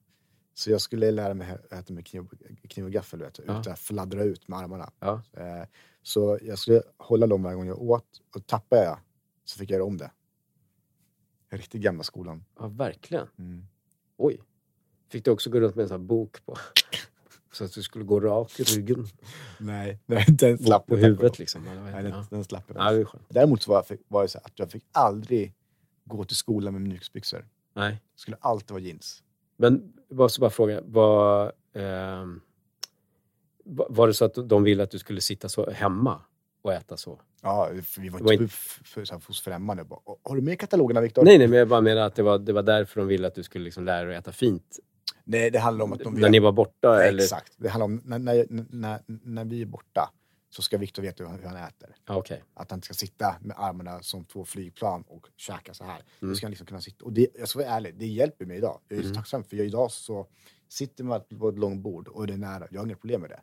[SPEAKER 2] Så jag skulle lära mig att äta med kniv, och- kniv och gaffel, du vet,
[SPEAKER 1] Ja.
[SPEAKER 2] utan att fladdra ut med armarna.
[SPEAKER 1] Ja.
[SPEAKER 2] Eh, Så jag skulle hålla dem varje gång jag åt och tappade jag så fick jag göra om det. Riktigt gamla skolan.
[SPEAKER 1] ja, verkligen.
[SPEAKER 2] Mm.
[SPEAKER 1] Oj. Fick du också gå runt med en sån här bok på? (laughs) Så att du skulle gå rak i ryggen.
[SPEAKER 2] Nej, nej, den slapp
[SPEAKER 1] på
[SPEAKER 2] jag, tack och
[SPEAKER 1] huvudet
[SPEAKER 2] lov.
[SPEAKER 1] liksom. Eller vad
[SPEAKER 2] Nej,
[SPEAKER 1] heter det?
[SPEAKER 2] den, den slapp jag.
[SPEAKER 1] Ja, det är skönt.
[SPEAKER 2] Däremot så var, jag, fick- var det så att jag fick aldrig gå till skolan med mjukisbyxor.
[SPEAKER 1] Nej.
[SPEAKER 2] skulle alltid vara jeans.
[SPEAKER 1] Men bara så bara fråga. Var, ehm, va- var det så att de ville att du skulle sitta så hemma och äta så?
[SPEAKER 2] Ja, för vi var
[SPEAKER 1] Det var
[SPEAKER 2] inte f- för, så här, hos främmande. Bara, har du med katalogerna Viktor?
[SPEAKER 1] Nej, nej, men jag bara menar att det var, det var därför de ville att du skulle liksom lära dig att äta fint.
[SPEAKER 2] Nej, det handlar om att de
[SPEAKER 1] När ni var borta?
[SPEAKER 2] Nej,
[SPEAKER 1] eller?
[SPEAKER 2] Exakt. Det handlar om när, när, när, när vi är borta så ska Viktor veta hur han äter.
[SPEAKER 1] Ja, okej.
[SPEAKER 2] Att han inte ska sitta med armarna som två flygplan och käka så här.
[SPEAKER 1] Mm.
[SPEAKER 2] Då ska han liksom kunna sitta. Och det, jag ska vara ärlig, det hjälper mig idag. Jag är så
[SPEAKER 1] Mm.
[SPEAKER 2] tacksam för jag, idag så Sitter man på ett långt bord och det är nära, jag har inga problem med det.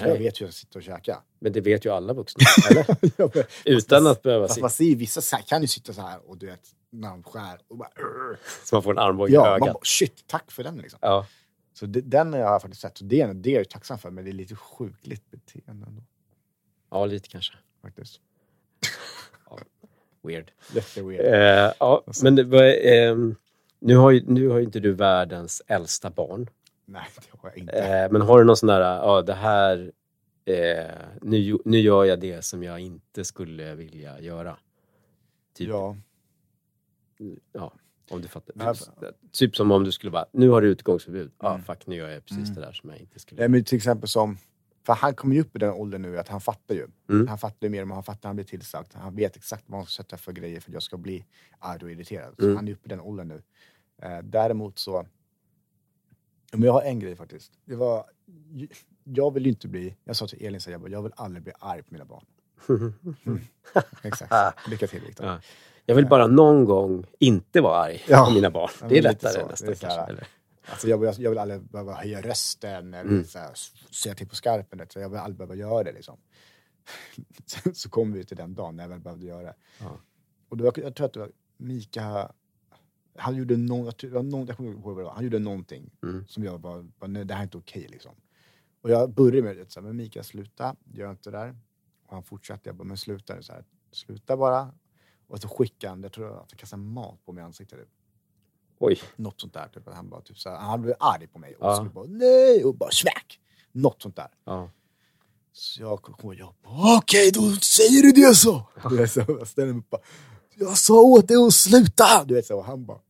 [SPEAKER 2] För Jag
[SPEAKER 1] Nej,
[SPEAKER 2] vet ju att jag sitter och käkar.
[SPEAKER 1] men det vet ju alla vuxna. (laughs) Eller?
[SPEAKER 2] Ja, men-
[SPEAKER 1] Utan att behöva
[SPEAKER 2] Fast
[SPEAKER 1] sitta
[SPEAKER 2] man ser ju vissa så här, kan ju sitta så här och du vet, när de skär och bara... "Urr."
[SPEAKER 1] så man får en armbåge i
[SPEAKER 2] Ja, man
[SPEAKER 1] ögat.
[SPEAKER 2] bara, shit, tack för den liksom.
[SPEAKER 1] Ja.
[SPEAKER 2] Så det, den har jag faktiskt sett. Så det, är- det är jag ju tacksam för, men det är lite sjukligt beteende ändå,
[SPEAKER 1] ja, lite kanske.
[SPEAKER 2] faktiskt.
[SPEAKER 1] Weird.
[SPEAKER 2] Jätteweird.
[SPEAKER 1] Eh, ja, men det var, ehm, nu, har ju, nu har ju inte du världens äldsta barn.
[SPEAKER 2] Nej, det har jag inte.
[SPEAKER 1] Eh, men har du någon sån där, ja det här, eh, nu, gjo- nu gör jag det som jag inte skulle vilja göra. Typ,
[SPEAKER 2] Ja,
[SPEAKER 1] om du fattar.
[SPEAKER 2] Nej,
[SPEAKER 1] Typ som om du skulle bara, nu har du utgångsförbud. Ja,
[SPEAKER 2] Mm.
[SPEAKER 1] fuck, nu gör jag precis
[SPEAKER 2] Mm.
[SPEAKER 1] det där som jag inte skulle
[SPEAKER 2] Nej, men till exempel som... För han kommer ju upp i den åldern nu att han fattar ju.
[SPEAKER 1] Mm.
[SPEAKER 2] Han fattar ju mer om han fattar, han blir tillsagd. Han vet exakt vad han ska sätta för grejer för att jag ska bli arg och irriterad. Så
[SPEAKER 1] Mm.
[SPEAKER 2] han är uppe i den åldern nu. Eh, däremot så... Men jag har en grej faktiskt. Det var, jag vill ju inte bli... Jag sa till Elin, så här, jag, bara, jag vill aldrig bli arg på mina barn. Exakt. Lycka till
[SPEAKER 1] (laughs)
[SPEAKER 2] Viktor.
[SPEAKER 1] Ja. jag vill bara någon gång inte vara arg
[SPEAKER 2] Ja.
[SPEAKER 1] på mina barn.
[SPEAKER 2] Ja,
[SPEAKER 1] det är
[SPEAKER 2] men lite
[SPEAKER 1] lättare
[SPEAKER 2] så. Det
[SPEAKER 1] nästan
[SPEAKER 2] är så här-
[SPEAKER 1] kanske. Eller?
[SPEAKER 2] Alltså jag, jag, jag vill aldrig behöva höja rösten eller
[SPEAKER 1] Mm.
[SPEAKER 2] så här, s- säga till på skarpen. Så jag vill aldrig behöva göra det. Liksom. (laughs) Sen så kom vi till den dagen när jag väl behövde göra det.
[SPEAKER 1] Ja.
[SPEAKER 2] Och då, jag, jag tror att det var Mika, han gjorde någon, jag, tror- det var någon, jag kommer inte ihåg vad det var, han gjorde någonting
[SPEAKER 1] Mm.
[SPEAKER 2] som jag bara, bara nej, det här är inte okej. liksom. Och jag började med det, så här, men Mika sluta, gör inte det där. Och han fortsatte, jag bara, men sluta nu, så här, sluta bara. Och så skickade han, jag tror att han kastade mat på mig i ansiktet. Typ.
[SPEAKER 1] Oj,
[SPEAKER 2] Något sånt där. Typ. att Han, bara, typ, så här, han blev arg på mig och
[SPEAKER 1] Ja.
[SPEAKER 2] skulle bara nej och bara smack. Något sånt där.
[SPEAKER 1] ja.
[SPEAKER 2] Så jag kom ihåg, jag bara, okej då säger du det så. Du vet, så jag ställer mig upp och bara, jag sa åt dig att sluta. Du vet så, och han bara,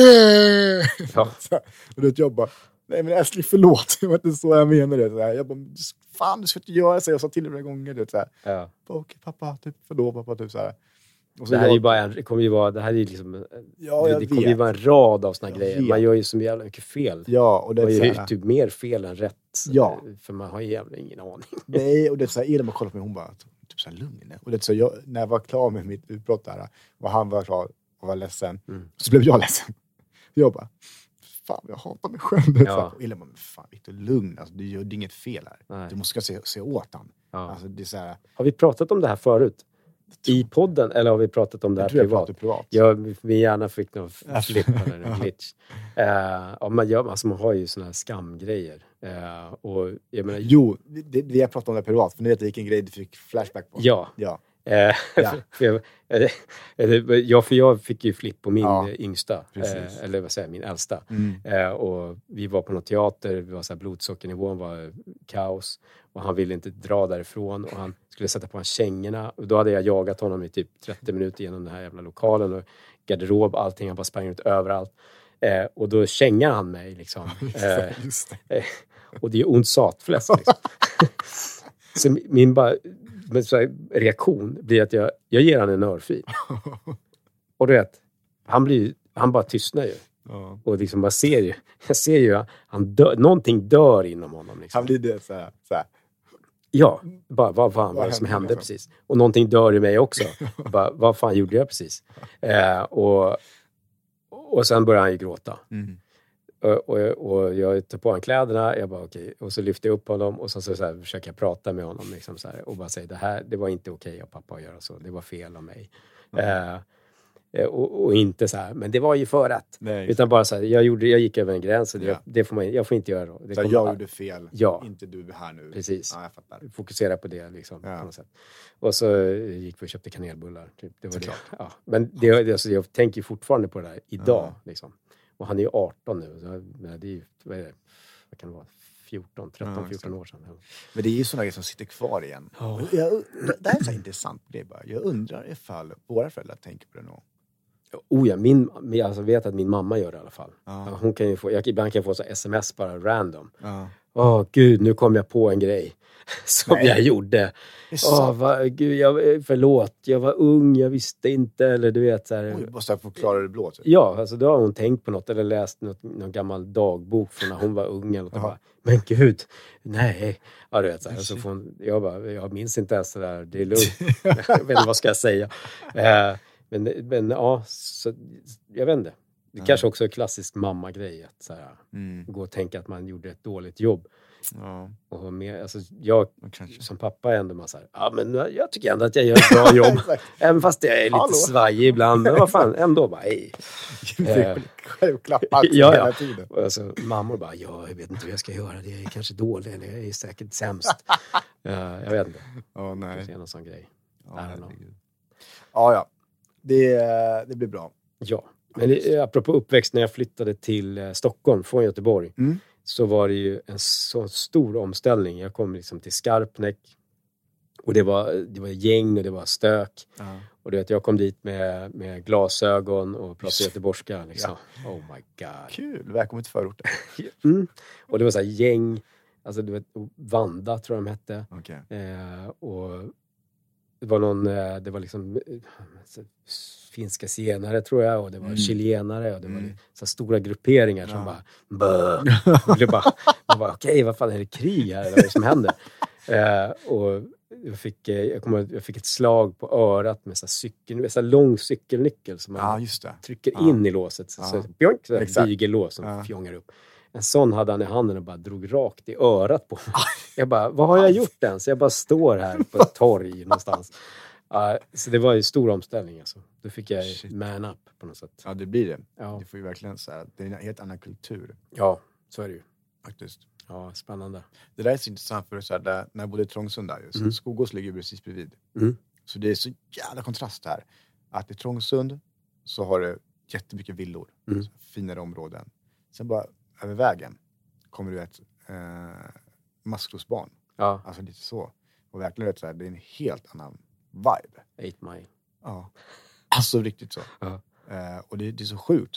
[SPEAKER 2] "Eh."
[SPEAKER 1] Ja.
[SPEAKER 2] (laughs) Så här, och då jag bara, nej men älskling förlåt, det var inte så jag menade. Så här, jag bara, fan du ska inte göra så. Jag sa till dig några gånger. Du vet, så här,
[SPEAKER 1] Ja.
[SPEAKER 2] bara, okej pappa, typ, förlåt pappa. Typ, så här. Och så
[SPEAKER 1] Det här
[SPEAKER 2] jag,
[SPEAKER 1] är ju bara en, det kommer ju vara, det här är ju liksom,
[SPEAKER 2] ja,
[SPEAKER 1] det,
[SPEAKER 2] jag
[SPEAKER 1] det kommer ju
[SPEAKER 2] vet.
[SPEAKER 1] vara en rad av såna
[SPEAKER 2] Jag
[SPEAKER 1] grejer.
[SPEAKER 2] vet.
[SPEAKER 1] Man gör ju så jävla mycket fel.
[SPEAKER 2] Ja, och det
[SPEAKER 1] Man
[SPEAKER 2] är så
[SPEAKER 1] gör ju
[SPEAKER 2] här,
[SPEAKER 1] typ mer fel än rätt.
[SPEAKER 2] Ja.
[SPEAKER 1] För man har ju jävla ingen aning.
[SPEAKER 2] Nej, och det är så här, Elin bara kollade på mig hon bara, typ så här, lugn. Och det är så här, jag, när jag var klar med mitt utbrott där, och han var klar och var ledsen,
[SPEAKER 1] Mm.
[SPEAKER 2] så blev jag ledsen. (laughs) Jag bara, fan jag hatar mig själv. Det är så här,
[SPEAKER 1] Ja.
[SPEAKER 2] Och Elin bara, men fan Victor, lugn. Alltså, du gör det är inget fel här.
[SPEAKER 1] Nej.
[SPEAKER 2] Du måste se, se åt han.
[SPEAKER 1] Ja.
[SPEAKER 2] Alltså, det är så här,
[SPEAKER 1] Har vi pratat om det här förut? I podden? Eller har vi pratat om det här
[SPEAKER 2] jag tror jag
[SPEAKER 1] privat?
[SPEAKER 2] pratar privat.
[SPEAKER 1] Ja, min hjärna fick
[SPEAKER 2] (laughs)
[SPEAKER 1] någon
[SPEAKER 2] Ja.
[SPEAKER 1] flipp eller en glitch. Eh, ja, man, gör, alltså man har ju såna här skamgrejer. Eh, och jag menar,
[SPEAKER 2] Jo, det, vi har pratat om det privat, för nu vet jag vilken grej du fick flashback på.
[SPEAKER 1] ja.
[SPEAKER 2] Ja.
[SPEAKER 1] Eh,
[SPEAKER 2] Ja.
[SPEAKER 1] (laughs) för jag, eh, eh, ja, för jag fick ju flipp på min
[SPEAKER 2] Ja,
[SPEAKER 1] eh, yngsta,
[SPEAKER 2] precis.
[SPEAKER 1] eh, eller vad säger jag, min äldsta.
[SPEAKER 2] Mm.
[SPEAKER 1] Eh, och vi var på någon teater, vi var så här, blodsockernivån var eh, kaos och han ville inte dra därifrån och han skulle sätta på honom kängorna. Och då hade jag jagat honom i typ 30 minuter genom den här jävla lokalen och garderob, allting. Han bara sprang ut överallt. Eh, och då kängar han mig liksom. Eh,
[SPEAKER 2] (laughs) Just det. (laughs)
[SPEAKER 1] Eh, Och det är ont satfläsk. Liksom. så min bara, men så här, reaktion blir att jag, jag ger han en örfil. Och du vet, han, blir, ju- han bara tystnar ju.
[SPEAKER 2] Ja.
[SPEAKER 1] Och liksom man ser ju, (laughs) jag ser ju, att han dör, någonting dör inom honom. Liksom.
[SPEAKER 2] Han blir det så här, så här.
[SPEAKER 1] Ja, bara vad fan var det
[SPEAKER 2] Vad
[SPEAKER 1] som
[SPEAKER 2] hände
[SPEAKER 1] hände
[SPEAKER 2] liksom?
[SPEAKER 1] precis? Och någonting dör i mig
[SPEAKER 2] (laughs)
[SPEAKER 1] också. bara, vad fan gjorde jag precis? Eh, och, och sen börjar han ju gråta.
[SPEAKER 2] Mm.
[SPEAKER 1] Och, och, jag- och jag tar på honom kläderna, jag bara okej. Och så lyfter jag upp honom och så, så, så här, försöker jag prata med honom liksom, så här, och bara säga det här, det var inte okej av pappa att göra så, det var fel av mig.
[SPEAKER 2] Mm.
[SPEAKER 1] Eh, Eh, och, och inte så här, men det var ju för att.
[SPEAKER 2] Nej,
[SPEAKER 1] Utan bara så här, jag, gjorde, jag gick över en gräns och det,
[SPEAKER 2] Ja.
[SPEAKER 1] det får man, jag får inte göra då. Det
[SPEAKER 2] så här,
[SPEAKER 1] kommer-
[SPEAKER 2] jag gjorde fel,
[SPEAKER 1] Ja.
[SPEAKER 2] inte du här nu.
[SPEAKER 1] Precis.
[SPEAKER 2] Ja, jag fattar.
[SPEAKER 1] Fokusera på det liksom,
[SPEAKER 2] Ja.
[SPEAKER 1] på något sätt. Och så eh, gick vi och köpte kanelbullar. Typ. Det var det.
[SPEAKER 2] Såklart.
[SPEAKER 1] Ja. Men det, det, alltså, jag tänker fortfarande på det där idag.
[SPEAKER 2] Ja.
[SPEAKER 1] Liksom. Och han är ju 18 nu. Så, jag- det är ju, vad, är det? vad kan det vara? 14, 13,
[SPEAKER 2] Ja, exakt.
[SPEAKER 1] 14 år sedan.
[SPEAKER 2] Men det är ju sådana grejer som sitter kvar igen.
[SPEAKER 1] Ja.
[SPEAKER 2] Och Jag, det här är så här intressant grej bara. Jag undrar ifall våra föräldrar tänker på det någon gång.
[SPEAKER 1] Oh ja, min, jag alltså vet att min mamma gör det i alla fall.
[SPEAKER 2] Ja.
[SPEAKER 1] Hon kan ju få, jag, ibland kan jag få så här sms bara random. Åh gud, nu kom jag på en grej (laughs) som
[SPEAKER 2] Nej.
[SPEAKER 1] jag gjorde.
[SPEAKER 2] Det är
[SPEAKER 1] Åh,
[SPEAKER 2] sant.
[SPEAKER 1] va, gud, jag, eh, förlåt, jag var ung, jag visste inte. Eller du vet så här.
[SPEAKER 2] Oj, måste jag förklara det blå? Typ.
[SPEAKER 1] Ja, alltså då har hon tänkt på något eller läst något, någon gammal dagbok från när hon var ung. Eller något, och
[SPEAKER 2] Jaha.
[SPEAKER 1] bara, men gud, nej. Ja, du vet, så här, och så får hon, jag bara, jag minns inte ens det där, det är lugnt. (laughs) jag vet inte, vad ska jag säga? Eh, men, men ja, så, jag vet inte. Det
[SPEAKER 2] Ja.
[SPEAKER 1] kanske också är klassiskt mammagrej att så här,
[SPEAKER 2] Mm.
[SPEAKER 1] gå och tänka att man gjorde ett dåligt jobb.
[SPEAKER 2] Ja,
[SPEAKER 1] Och ha med, alltså, jag (laughs)
[SPEAKER 2] och kanske.
[SPEAKER 1] som pappa är ändå man så här, ja men jag tycker ändå att jag gör ett bra jobb.
[SPEAKER 2] Exakt.
[SPEAKER 1] Även fast jag är lite
[SPEAKER 2] Hallå.
[SPEAKER 1] svajig ibland. Men vad
[SPEAKER 2] (laughs)
[SPEAKER 1] fan, ändå bara, hej.
[SPEAKER 2] Det är
[SPEAKER 1] (laughs)
[SPEAKER 2] Självklapp allt
[SPEAKER 1] Eh. Ja, ja.
[SPEAKER 2] hela tiden.
[SPEAKER 1] Och Alltså, mammor bara, ja, jag vet inte hur jag ska göra. Det är kanske dåligt, eller jag är säkert
[SPEAKER 2] (laughs)
[SPEAKER 1] sämst. Eh, jag vet inte,
[SPEAKER 2] Ja,
[SPEAKER 1] det
[SPEAKER 2] nej.
[SPEAKER 1] är någon sån grej.
[SPEAKER 2] Ja,
[SPEAKER 1] I don't know.
[SPEAKER 2] herregud. ja. ja. Det, eh, det blir bra.
[SPEAKER 1] Ja. Men eh, apropå uppväxt, när jag flyttade till eh, Stockholm från Göteborg
[SPEAKER 2] Mm.
[SPEAKER 1] så var det ju en så stor omställning. Jag kom liksom till Skarpnäck och det var, det var gäng och det var stök.
[SPEAKER 2] Ja.
[SPEAKER 1] Och du vet, jag kom dit med, med glasögon och pratade göteborgska. Liksom. Oh my god.
[SPEAKER 2] Kul, välkommen
[SPEAKER 1] (laughs)
[SPEAKER 2] till förorten.
[SPEAKER 1] Mm. Och det var så här gäng, alltså du vet, Vanda tror jag de hette.
[SPEAKER 2] Okej.
[SPEAKER 1] Eh, och det var någon, eh, det var liksom eh, så- finska zigenare tror jag och det var
[SPEAKER 2] Mm.
[SPEAKER 1] chilenare och det var
[SPEAKER 2] Mm.
[SPEAKER 1] så här stora grupperingar som
[SPEAKER 2] Ja.
[SPEAKER 1] bara bö. Och det
[SPEAKER 2] (laughs)
[SPEAKER 1] bara, man bara okej, vad fan är det krig här eller vad är det som händer? Eh, och jag fick, eh, jag, kommer, ihåg, jag fick ett slag på örat med så här cykel, med så här lång cykelnyckel som man
[SPEAKER 2] Ja, just det.
[SPEAKER 1] trycker
[SPEAKER 2] Ja.
[SPEAKER 1] in i låset. Så,
[SPEAKER 2] Ja.
[SPEAKER 1] så, bjoink, så här
[SPEAKER 2] Exakt.
[SPEAKER 1] bygellås som
[SPEAKER 2] Ja.
[SPEAKER 1] fjongar upp. En sån hade han i handen och bara drog rakt i örat på mig. Jag bara, vad har jag gjort ens? Jag bara står här på ett torg någonstans. Ja, så det var ju stor omställning alltså. Då fick jag
[SPEAKER 2] Shit.
[SPEAKER 1] man up på något sätt.
[SPEAKER 2] Ja, det blir det.
[SPEAKER 1] Ja,
[SPEAKER 2] Du får ju verkligen så här, det är en helt annan kultur
[SPEAKER 1] ja så är det ju.
[SPEAKER 2] faktiskt.
[SPEAKER 1] Ja, spännande.
[SPEAKER 2] Det där är så intressant för så här, där, när jag bodde i Trångsund där, ju, så
[SPEAKER 1] Mm.
[SPEAKER 2] Skogås ligger ju precis bredvid.
[SPEAKER 1] Mm.
[SPEAKER 2] Så det är så jävla kontrast här. Att i Trångsund så har du jättemycket villor,
[SPEAKER 1] Mm.
[SPEAKER 2] så här finare områden. Sen bara över vägen kommer du ett eh, maskrosbarn,
[SPEAKER 1] Ja,
[SPEAKER 2] alltså lite så. Och verkligen vet, så här, det är en helt annan vibe.
[SPEAKER 1] eight mile.
[SPEAKER 2] Ja. Alltså riktigt så.
[SPEAKER 1] Ja.
[SPEAKER 2] Eh, och det, det är så sjukt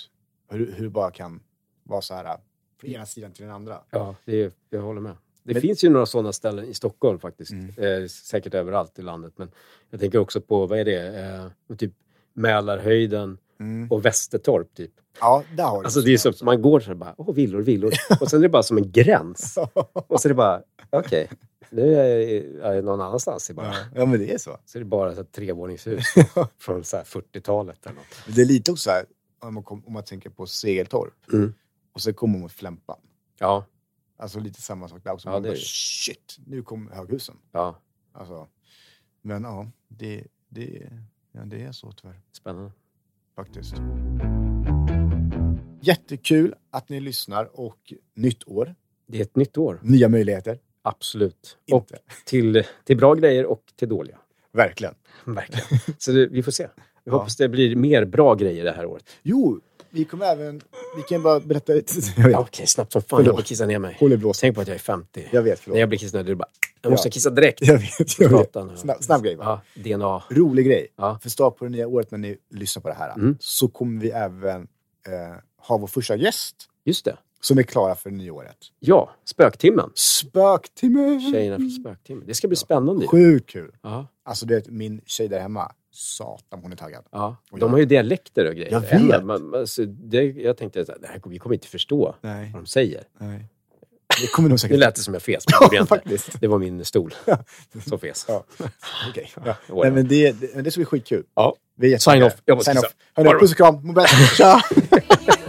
[SPEAKER 2] hur, hur det bara kan vara så här eh, från ena sidan till den andra.
[SPEAKER 1] Ja, det är, jag håller med. Det
[SPEAKER 2] Men-
[SPEAKER 1] finns ju några sådana ställen i Stockholm faktiskt.
[SPEAKER 2] Mm.
[SPEAKER 1] Eh, säkert överallt i landet. Men jag tänker också på, vad är det? Eh, typ Mälarhöjden
[SPEAKER 2] Mm.
[SPEAKER 1] och Västertorp typ.
[SPEAKER 2] Ja, där har du
[SPEAKER 1] Alltså det är som, man går så här bara, åh villor, (laughs) villor. Och sen är det bara som en gräns.
[SPEAKER 2] (laughs)
[SPEAKER 1] Och så är det bara, okej, nu är jag- är jag någon annanstans. Det är bara,
[SPEAKER 2] Ja, ja, men det är så.
[SPEAKER 1] så är det bara så här (laughs) trevåningshus från så här 40-talet eller något.
[SPEAKER 2] Men Det är lite också så här, om man, kom, om man tänker på Segeltorp
[SPEAKER 1] Mm.
[SPEAKER 2] och sen kommer man mot Flämpan.
[SPEAKER 1] Ja,
[SPEAKER 2] Alltså lite samma sak där också.
[SPEAKER 1] Ja,
[SPEAKER 2] Man
[SPEAKER 1] det är
[SPEAKER 2] bara,
[SPEAKER 1] det.
[SPEAKER 2] shit, nu kom höghusen.
[SPEAKER 1] ja,
[SPEAKER 2] Alltså, men ja, det, det, ja, det är så tyvärr.
[SPEAKER 1] spännande.
[SPEAKER 2] faktiskt. Jättekul att ni lyssnar och nytt år,
[SPEAKER 1] Det är ett nytt år,
[SPEAKER 2] nya möjligheter.
[SPEAKER 1] absolut. Och
[SPEAKER 2] Inte.
[SPEAKER 1] till, till bra grejer och till dåliga.
[SPEAKER 2] Verkligen.
[SPEAKER 1] (laughs) Verkligen. (laughs) Så det, vi får se. Jag
[SPEAKER 2] Ja.
[SPEAKER 1] hoppas det blir mer bra grejer det här året.
[SPEAKER 2] Jo, vi kommer även... Vi kan bara
[SPEAKER 1] (laughs)
[SPEAKER 2] berätta lite. Jag
[SPEAKER 1] Ja,
[SPEAKER 2] vet,
[SPEAKER 1] Okej, snabbt som fan. Jag
[SPEAKER 2] Förlåt.
[SPEAKER 1] får kissa ner mig.
[SPEAKER 2] håll i blåsen.
[SPEAKER 1] Tänk på att jag är 50.
[SPEAKER 2] Jag vet,
[SPEAKER 1] När
[SPEAKER 2] förlåt.
[SPEAKER 1] jag blir kissnödig, är det bara, jag måste
[SPEAKER 2] Ja.
[SPEAKER 1] kissa direkt.
[SPEAKER 2] Jag vet, jag vet.
[SPEAKER 1] Prata nu.
[SPEAKER 2] Snabb, snabb grej bara.
[SPEAKER 1] Ja, DNA.
[SPEAKER 2] Rolig grej.
[SPEAKER 1] Ja.
[SPEAKER 2] För start på det nya året när ni lyssnar på det här
[SPEAKER 1] Mm.
[SPEAKER 2] så kommer vi även eh, ha vår första gäst
[SPEAKER 1] Just det.
[SPEAKER 2] som är klara för det nya året.
[SPEAKER 1] Ja, Spöktimmen.
[SPEAKER 2] Spöktimme!
[SPEAKER 1] Tjejerna från Spöktimmen. Det ska bli spännande. ju.
[SPEAKER 2] Mm. Sjukt kul.
[SPEAKER 1] Ja,
[SPEAKER 2] Alltså, du vet, min tjej där hemma, satan hon är taggad.
[SPEAKER 1] ja.
[SPEAKER 2] Och
[SPEAKER 1] De
[SPEAKER 2] jag-
[SPEAKER 1] har ju dialekter och grejer.
[SPEAKER 2] Jag vet.
[SPEAKER 1] Eller, man- man- så det, jag tänkte att det här, vi kommer inte förstå
[SPEAKER 2] Nej,
[SPEAKER 1] vad de säger.
[SPEAKER 2] nej. Det kommer nog
[SPEAKER 1] Nu
[SPEAKER 2] säkert
[SPEAKER 1] lät Mm. det som jag fes, men det
[SPEAKER 2] (laughs)
[SPEAKER 1] gjorde jag inte.
[SPEAKER 2] faktiskt.
[SPEAKER 1] Det var min stol som fes.
[SPEAKER 2] Ja. Okej. Ja. Nej,
[SPEAKER 1] Whatever.
[SPEAKER 2] men det, det, men det ska bli skitkul.
[SPEAKER 1] Ja.
[SPEAKER 2] Vi är
[SPEAKER 1] Sign
[SPEAKER 2] jättetaggade.
[SPEAKER 1] off. Jag måste
[SPEAKER 2] Sign
[SPEAKER 1] kissa. (laughs)
[SPEAKER 2] off. Hörni, puss och kram. Må bäst. Tja!